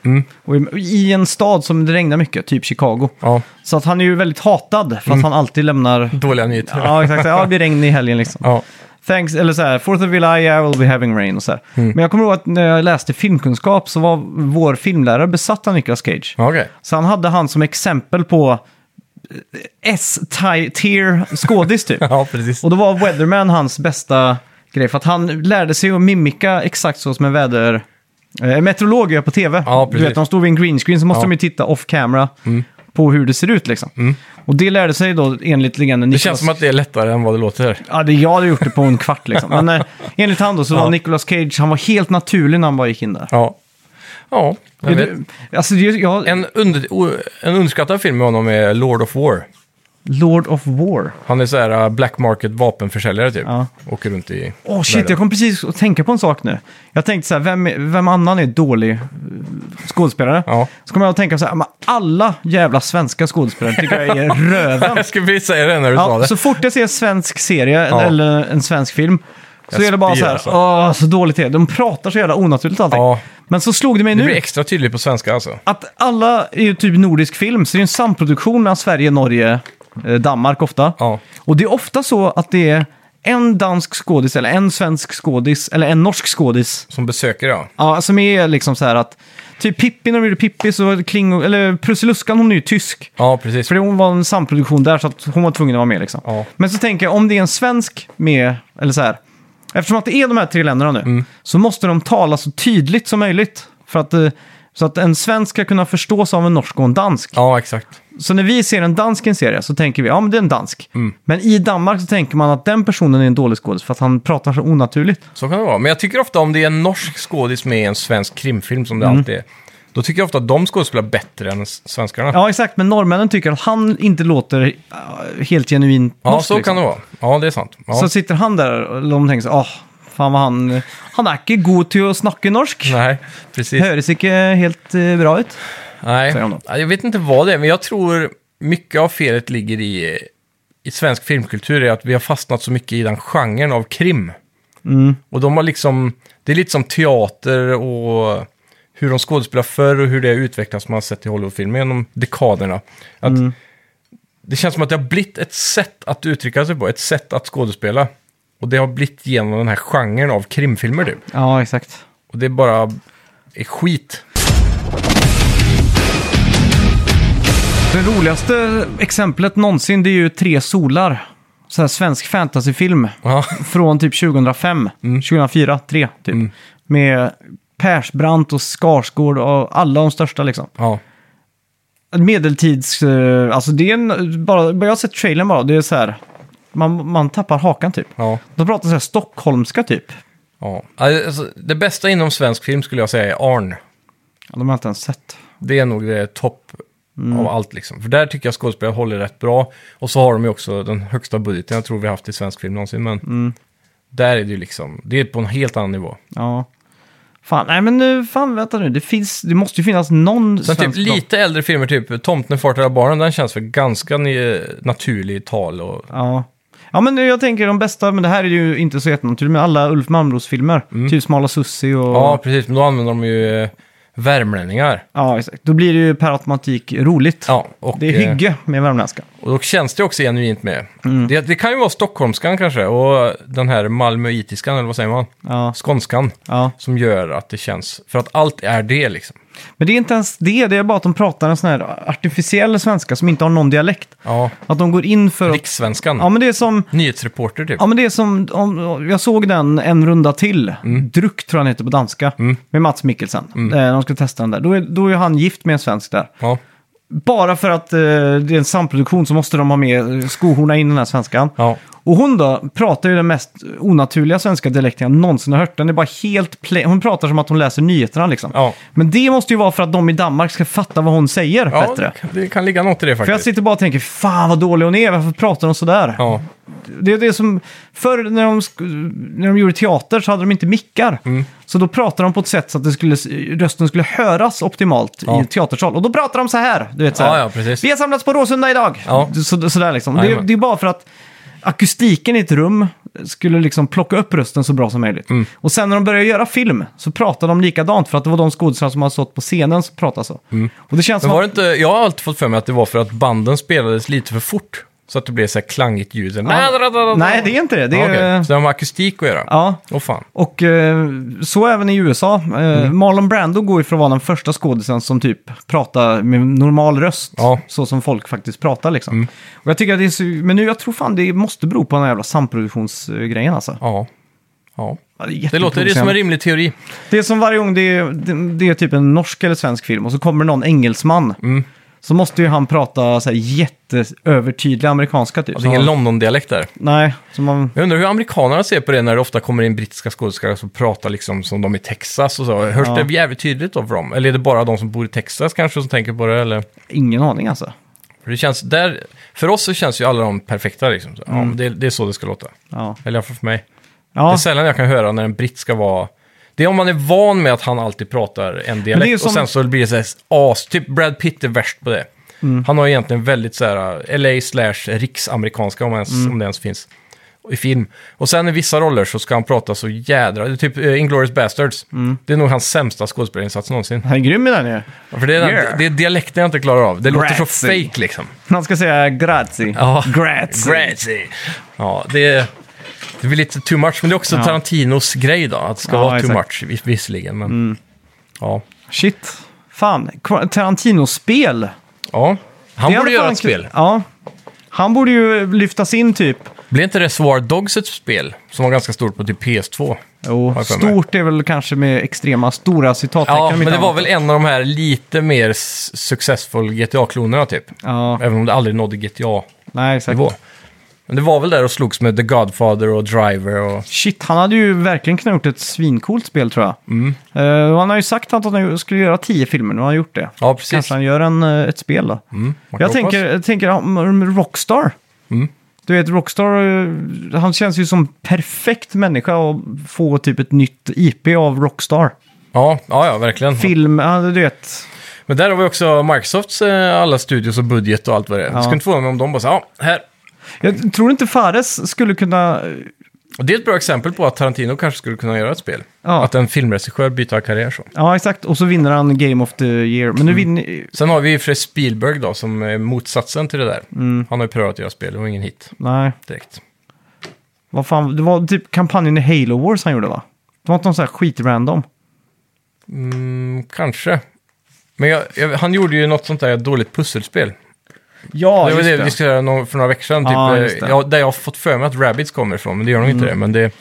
Och i- I en stad som det regnar mycket, typ Chicago. Ja, Så att han är ju väldigt hatad, för att Mm. han alltid lämnar... dåliga nyheter. Ja, exakt. Ja, det blir regn i helgen liksom. Ja. Thanks, eller så här, Fourth of July, I will be having rain och så här. Mm. Men jag kommer ihåg att när jag läste filmkunskap så var vår filmlärare besatt av Nicolas Cage. Ja, okej. Så han hade han som exempel på eh, S-tier skådis typ. Ja, precis. Och då var Weatherman hans bästa grej, för att han lärde sig att mimika exakt så som en väder... Eh, meteorolog gör på tv. Ja, du precis. vet, de står vid en green screen så måste Ja. Mm. de ju titta off camera på hur det ser ut liksom. Och det lärde sig då enligt legenden Det känns som att det är lättare än vad det låter. Ja, det, jag hade gjort det på en kvart liksom. Men eh, enligt han då så var Nicolas Cage, han var helt naturlig när han bara gick in där. Ja. Ja, jag Är vet. du, alltså, det är ju- jag, En, under, o- en underskattad film med honom är Lord of War. Lord of War. Han är så här äh, black market vapenförsäljare typ. Ja. Åker runt i... Åh shit, världen. jag kom precis att tänka på en sak nu. Jag tänkte så här, vem, vem annan är dålig eh, skådespelare? Ja. Så kommer jag att tänka så här, men alla jävla svenska skådespelare tycker jag är röven. Jag skulle precis säga det när du sa Ja, det. så fort jag ser en svensk serie Ja. eller en svensk film så Jag är det bara spyr så här, alltså. åh, så dåligt det är. De pratar så jävla onaturligt allting. Ja. Men så slog det mig Det nu blir extra tydligt på svenska alltså. att alla är ju typ nordisk film, så det är en samproduktion mellan Sverige, Norge, eh, Danmark ofta. Ja. Och det är ofta så att det är en dansk skådis, eller en svensk skådis, eller en norsk skådis. Som besöker ja. Ja, som är liksom så här att, typ Pippi när de gjorde Pippi så var det Klingo, eller Prussiluskan hon är ju tysk. Ja, precis. För det- hon var en samproduktion där så att hon var tvungen att vara med liksom. Ja. Men så tänker jag, om det är en svensk med, eller så här. Eftersom att det är de här tre länderna nu, så måste de tala så tydligt som möjligt. För att, eh, så att en svensk ska kunna förstås av en norsk och en dansk. Ja, exakt. Så när vi ser en dansk i en serie så tänker vi, ja men det är en dansk. Men i Danmark så tänker man att den personen är en dålig skådis för att han pratar så onaturligt. Så kan det vara. Men jag tycker ofta om det är en norsk skådis med i en svensk krimfilm som det Mm. alltid är. Då tycker jag ofta att de skådespelar bättre än s- svenskarna. Ja exakt, men norrmännen tycker att han inte låter eh, helt genuint Ja, norsk, så liksom. kan det vara. Ja, det är sant. Ja. Så sitter han där och de tänker så, åh, fan vad han... Han är inte god till att snacka norsk. Nej, precis. Hörs inte helt eh, bra ut. Nej. säger de då. Ja, Jag vet inte vad det är, men jag tror mycket av felet ligger i, i svensk filmkultur är att vi har fastnat så mycket i den genren av krim. Och de har liksom, det är lite som teater och hur de skådespelar förr och hur det har utvecklats man har sett i Hollywoodfilmer genom dekaderna. Att Det känns som att det har blivit ett sätt att uttrycka sig på, ett sätt att skådespela. Och det har blivit genom den här genren av krimfilmer typ. Ja, exakt. Och det bara är skit. Det roligaste exemplet någonsin det är ju Tre solar. Så här svensk fantasyfilm Ja, från typ 2005, Mm. 2004, 3 typ. Med Persbrandt och Skarsgård och alla de största liksom. ja. En Medeltids... eh, Alltså det är en... Bara, bara jag har sett trailern bara, det är så här... Man, man tappar hakan typ. ja. De pratar så här stockholmska typ. Ja, alltså, det bästa inom svensk film skulle jag säga är Arn. Ja, de har jag inte ens sett. Det är nog det topp Mm. av allt liksom. För där tycker jag skådespelare håller rätt bra. Och så har de ju också den högsta budgeten jag tror vi har haft i svensk film någonsin. Men Mm. där är det ju liksom, det är på en helt annan nivå. Ja. Fan, nej men nu, fan vänta nu. Det, finns, det måste ju finnas någon Sen typ svensk bra- lite äldre filmer, typ Tomten far till barnen, den känns för ganska ny, naturlig i tal och... Ja. ja, men jag tänker de bästa, men det här är ju inte så jättenaturligt, men alla Ulf Malmros-filmer. Typ Smala Sussi och... Mm. Ja, precis. Men då använder de ju eh, värmlänningar. Ja, exakt. Då blir det ju per automatik roligt. Ja, och, Det är eh, hygge med värmländska. Och då känns det också genuint med. Mm. Det, det kan ju vara stockholmskan kanske och den här malmöitiskan, eller vad säger man? Ja. Skånskan. Ja. Som gör att det känns, för att allt är det liksom. Men det är inte ens det, det är bara att de pratar en sån här artificiell svenska som inte har någon dialekt. Ja, Att de går in för att... rikssvenskan. Ja, men det är som... Nyhetsreporter typ. Ja, men det är som, om, jag såg den en runda till, Mm. Druck tror jag han heter på danska, med Mats Mikkelsen. Eh, De ska testa den där. Då är, då är han gift med en svensk där. Ja. Bara för att eh, det är en samproduktion så måste de ha med, eh, skohorna in den här svenskan. Ja. Och hon då pratar ju den mest onaturliga svenska dialekten jag någonsin har hört. Den är bara helt play. Hon pratar som att hon läser nyheterna liksom. Ja. Men det måste ju vara för att de i Danmark ska fatta vad hon säger Ja, bättre. det kan- det kan ligga något i det För jag faktiskt. sitter bara och tänker, fan vad dålig hon är, varför pratar hon sådär? Ja, Det är det som, förr när de, sk- när de gjorde teater så hade de inte mickar. Mm. Så då pratade de på ett sätt så att det skulle, rösten skulle höras optimalt Ja. i teatersal. Och då pratar de så här. Du vet, så här Ja, ja, precis. Vi har samlats på Råsunda idag. Ja. Så, sådär liksom. Det, Jajamän. det är bara för att akustiken i ett rum skulle liksom plocka upp rösten så bra som möjligt. Mm. Och sen när de började göra film så pratade de likadant för att det var de skådespelare som hade stått på scenen som pratade så. Och det känns Mm. men som var att det inte, jag har alltid fått för mig att det var för att banden spelades lite för fort. Så att det blev så här klangigt ljud. Ja. Nej, det är inte det. Det är- Ja, okej. Så det har med akustik att göra? Ja, Åh fan. Och eh, så även i USA. Eh, Mm. Marlon Brando går ju för att vara den första skådisen som typ pratar med normal röst. Ja. Mm. Så som folk faktiskt pratar liksom. Och jag tycker att det är så, men nu jag tror fan det måste bero på den här jävla samproduktionsgrejen alltså. Ja. Ja. Ja, är Det låter det är som en rimlig teori. Det är som varje gång det är, det, det är typ en norsk eller svensk film och så kommer någon engelsman. Mm. Så måste ju han prata så här jätteövertydlig amerikanska typ. Det är Alltså, ingen Så- London-dialekt där. Nej, så man... Jag undrar hur amerikanerna ser på det när det ofta kommer in brittiska skådespelare som pratar liksom som de i Texas och så. Hörs Ja. det jävligt tydligt då för dem? Eller är det bara de som bor i Texas kanske som tänker på det? Eller? Ingen aning alltså. För, det känns, där, för oss så känns ju alla de perfekta liksom. Så, ja, men det, det är så det ska låta. Ja. Eller i alla fall för mig. Det är Ja. sällan jag kan höra när en britt ska vara... Det är om man är van med att han alltid pratar en dialekt som- och sen så blir det så här as. Typ Brad Pitt är värst på det. Mm. eh, Mm. Han har egentligen väldigt så här LA slash riksamerikanska om, ens, om det ens finns. i film. Och sen i vissa roller så ska han prata så jädra... det är Typ uh, Inglourious Basterds. Mm. Det är nog hans sämsta skådespelarinsats någonsin. Han är grym i den ju. För det är, den, Yeah. det är dialekten jag inte klarar av. Det låter så Grazie. fake liksom. Han ska säga grazie. Ja. Grazie. Grazie. Ja, det, är- det blir lite too much, men det är också Ja. Tarantinos grej då, att det ska Ja, vara too exakt. Mm. much, vis- visserligen. Men, ja. Shit. Fan, Qu- Tarantino-spel. ja. Han Det borde hade göra fan ett kul- spel. Ja. Han borde ju lyftas in typ. Blev inte det Swar Dogs ett spel som var ganska stort på typ PS2? Jo, Har jag för mig. stort är väl kanske med extrema stora citattecken. Ja, om men inte det var annat. väl en av de här lite mer s- successful GTA-klonerna typ. Ja, Även om det aldrig nådde GTA-nivå. nej exakt. Men det var väl där och slogs med The Godfather och Driver och... Shit, han hade ju verkligen kunnat gjort ett svincoolt spel tror jag. Mm. Eh, och han har ju sagt att han skulle göra tio filmer, nu har han gjort det. Ja, precis. Kanske han gör en, eh, ett spel då. Mm, man kan Jag hoppas. tänker, jag tänker om- om Rockstar. Mm. Du vet, Rockstar, eh, han känns ju som perfekt människa att få typ ett nytt IP av Rockstar. Ja, ja, ja verkligen. Film, ja, du vet. Men där har vi också Microsofts eh, alla studios och budget och allt vad det är. Jag skulle inte förvåna mig om de bara sa, ja, här. Jag tror inte Fares skulle kunna... Och det är ett bra exempel på att Tarantino kanske skulle kunna göra ett spel. Ja. Att en filmregissör byter karriär så. Ja, exakt. Och så vinner han Game of the Year. Mm. Men nu vinner... Sen har vi ju Fred Spielberg då, som är motsatsen till det där. Mm. Han har ju prövat att göra spel och ingen hit Nej, direkt. vad fan. Det var typ kampanjen i Halo Wars han gjorde, va? Det var inte någon sån här skit-random. Mm, kanske. Men jag, jag, han gjorde ju något sånt där dåligt pusselspel. Ja, det var det vi diskuterade nå- för några veckor sedan, typ, Ja, eh, just det. ja, där jag har fått för mig att Rabbids kommer ifrån, men det gör de inte det. Men det, det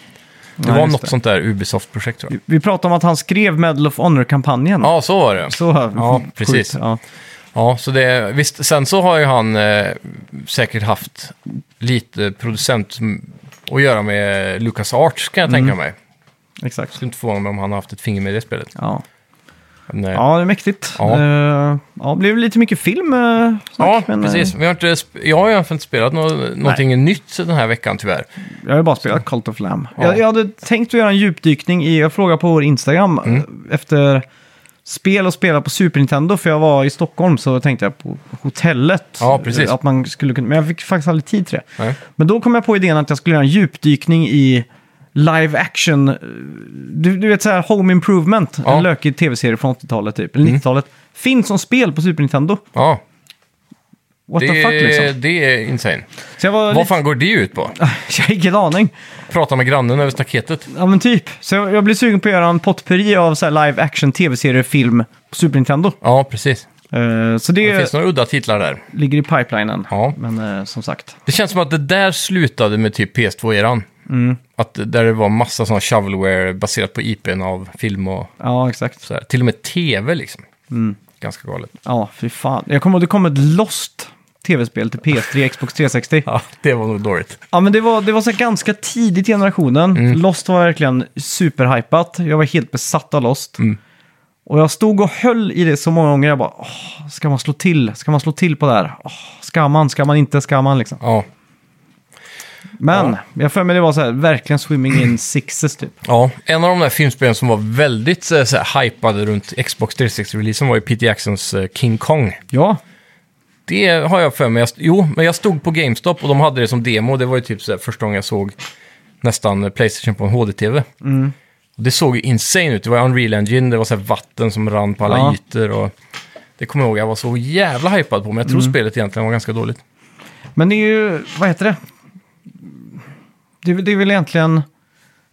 Nej, var just något det. Mm. sånt där Ubisoft-projekt tror jag. Vi pratade om att han skrev Medal of Honor-kampanjen. Ja, så var det. Så, Ja, precis. Sjukt, Ja. Ja, så det, visst, sen så har ju han eh, säkert haft lite producent som- att göra med Lucas Arts kan jag Mm. tänka mig. Exakt. Skulle inte förvåna mig om han har haft ett finger med i det spelet. Ja. Men, eh, ja, det är mäktigt. Ja. Eh, ja, det blev lite mycket film. eh, ja snack, men, eh, precis. Vi har inte, sp- jag har ju inte spelat nå- någonting nytt den här veckan tyvärr. Jag har ju bara spelat Cult of Lamb. Ja. Jag, jag hade tänkt att göra en djupdykning i, jag frågade på vår Instagram Mm. eh, efter spel och spela på Super Nintendo, för jag var i Stockholm så tänkte jag på hotellet. Ja, precis. Att man skulle kunna, men jag fick faktiskt aldrig tid till det. Nej. Men då kom jag på idén att jag skulle göra en djupdykning i live action, eh, du, du vet så här Home Improvement, Ja. Mm. en lökig tv-serie från 80-talet typ, eller 90-talet. Finns som spel på Super Nintendo. Ja, What det, the fuck liksom. det är insane. Så jag var Vad lite, fan går det ut på? jag har ingen aning. Prata med grannen över staketet. Ja men typ. Så jag, jag blir sugen på att göra en potpurri av så här live action tv-serier, film på Super Nintendo. Ja, precis. Eh, så det, Det finns några udda titlar där. ligger i pipelinen. Ja. Men eh, som sagt. Det känns som att det där slutade med typ PS2-eran. Att där det var massa sådana shovelware baserat på IPn av film och Ja, exakt. sådär. Till och med tv liksom. Ganska galet. Ja, fy fan. Jag kommer, det kom ett Lost tv-spel till PS3, Xbox 360. Ja, det var nog dåligt. Ja, men det var, det var så här ganska tidigt i generationen. Lost var verkligen superhypat. Jag var helt besatt av Lost. Och jag stod och höll i det så många gånger. Jag bara, "Åh, ska man slå till? Ska man slå till på det här? Åh, ska man? Ska man inte? Ska man liksom? Ja, Men jag har för mig det var så här, verkligen swimming in sixes typ. ja. en av de där filmspelen som var väldigt eh, så, så här, hypade runt Xbox 360-releasen var ju Peter Jacksons eh, King Kong. Ja, Det har jag för mig. Jag st- Jo, men jag stod på GameStop och de hade det som demo. Det var ju typ så här, första gången jag såg nästan eh, Playstation på en HD-TV. Och det såg ju insane ut. Det var Unreal Engine, det var så här vatten som rann på alla Ja. ytor. Och det kommer jag ihåg jag var så jävla hypad på, men jag tror spelet egentligen var ganska dåligt. men det är ju, vad heter det? Det, är väl- det är väl egentligen...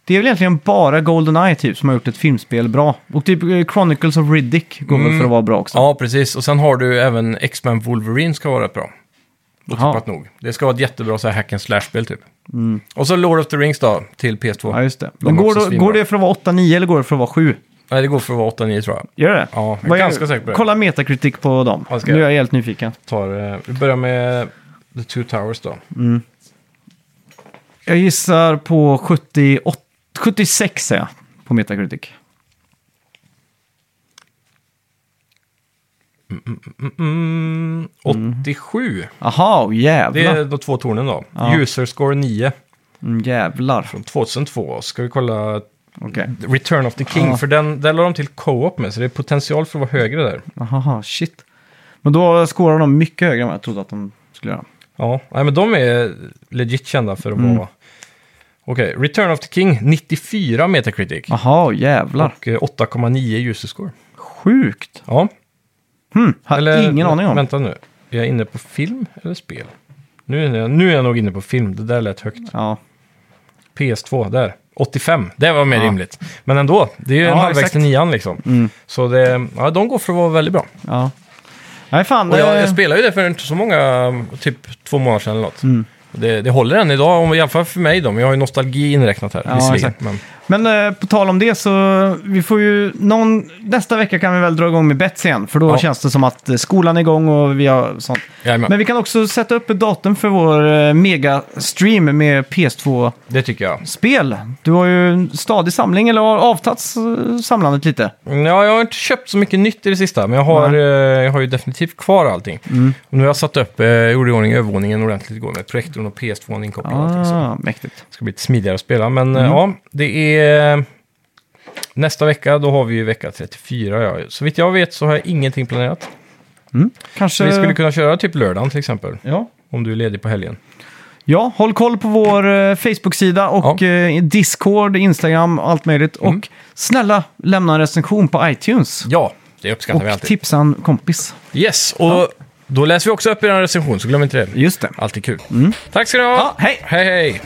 Det är väl egentligen bara Goldeneye typ som har gjort ett filmspel bra. Och typ eh, Chronicles of Riddick går väl för att vara bra också. Mm. Ja, precis. Och sen har du även X-Men Wolverine ska vara rätt bra. Otippat nog. Det ska vara ett jättebra så här hack and slash-spel typ. Och så Lord of the Rings då, till PS2. Ja, just det. De Men är går, också då, svinbra. går det för att vara 8-9 eller går det för att vara 7? Nej, det går för att vara 8-9 tror jag. Gör det? Ja, jag är Vad ganska säker på det. Kolla metakritik på dem. Ja, det ska Nu är jag. jag helt nyfiken. Tar, eh, vi börjar med The Two Towers då. Mm, Jag gissar på 78, 76 säger jag på metakritik. Mm, 87. Aha, oh, Det jävlar. är de två tornen då. Ja. User score 9 Mm, jävlar. från 2002. Ska vi kolla Okej. Return of the King, Ja. för den, där la de till co-op med, så det är potential för att vara högre där. Aha, shit. Men då skårar de mycket högre än vad jag trodde att de skulle göra. Mm. Ja, nej, men de är legit kända för att vara Okej, Return of the King, 94 Metacritic. Jaha, jävlar. Och eh, 8,9 user score. Sjukt. Ja. Hmm, har ingen aning om. Vänta nu. Är jag inne på film eller spel? Nu är, jag, nu är jag nog inne på film. Det där lät högt. Ja. PS2, där. 85. Det var mer Ja. rimligt. Men ändå, det är ju Ja, en halvvägs exakt. Mm. till nian liksom. Så det, ja, de går för att vara väldigt bra. Ja. Nej, fan. eh, Och det- jag, jag spelade ju det för inte så många, typ två månader sedan eller något. Mm. Det, det håller än idag, om- i alla fall för mig då. Men jag har ju nostalgi inräknat här, Ja, visserligen. exakt. Men, Men eh, på tal om det så vi får ju någon, nästa vecka kan vi väl dra igång med bets igen. För då Ja. känns det som att eh, skolan är igång och vi har sånt. jajamän, Men vi kan också sätta upp ett datum för vår eh, megastream med PS2-spel. det tycker jag. Du har ju en stadig samling, eller har avtagit eh, samlandet lite. Mm, Ja, jag har inte köpt så mycket nytt i det sista, men jag har, Nej. Mm. eh, jag har ju definitivt kvar allting. Och nu har jag satt upp, eh, jag gjorde i ordning övervåningen ordentligt igår med projektorn och PS2 inkopplad och allting. Så Ah, mäktigt. det ska bli lite smidigare att spela. Men eh, ja, det är... eh, Nästa vecka, då har vi ju vecka 34. Ja. Så vitt jag vet så har jag ingenting planerat. Så Kanske... vi skulle kunna köra typ lördagen till exempel, ja. om du är ledig på helgen. Ja, håll koll på vår eh, Facebook-sida och Ja. eh, Discord, Instagram, allt möjligt. Och snälla lämna en recension på iTunes. Ja, det uppskattar vi Och alltid. tipsa en kompis. Yes, och då läser vi också upp er recension, så glöm inte det. Just det. Mm. Alltid kul. Tack ska ni ha! Ja, hej. Hej, hej!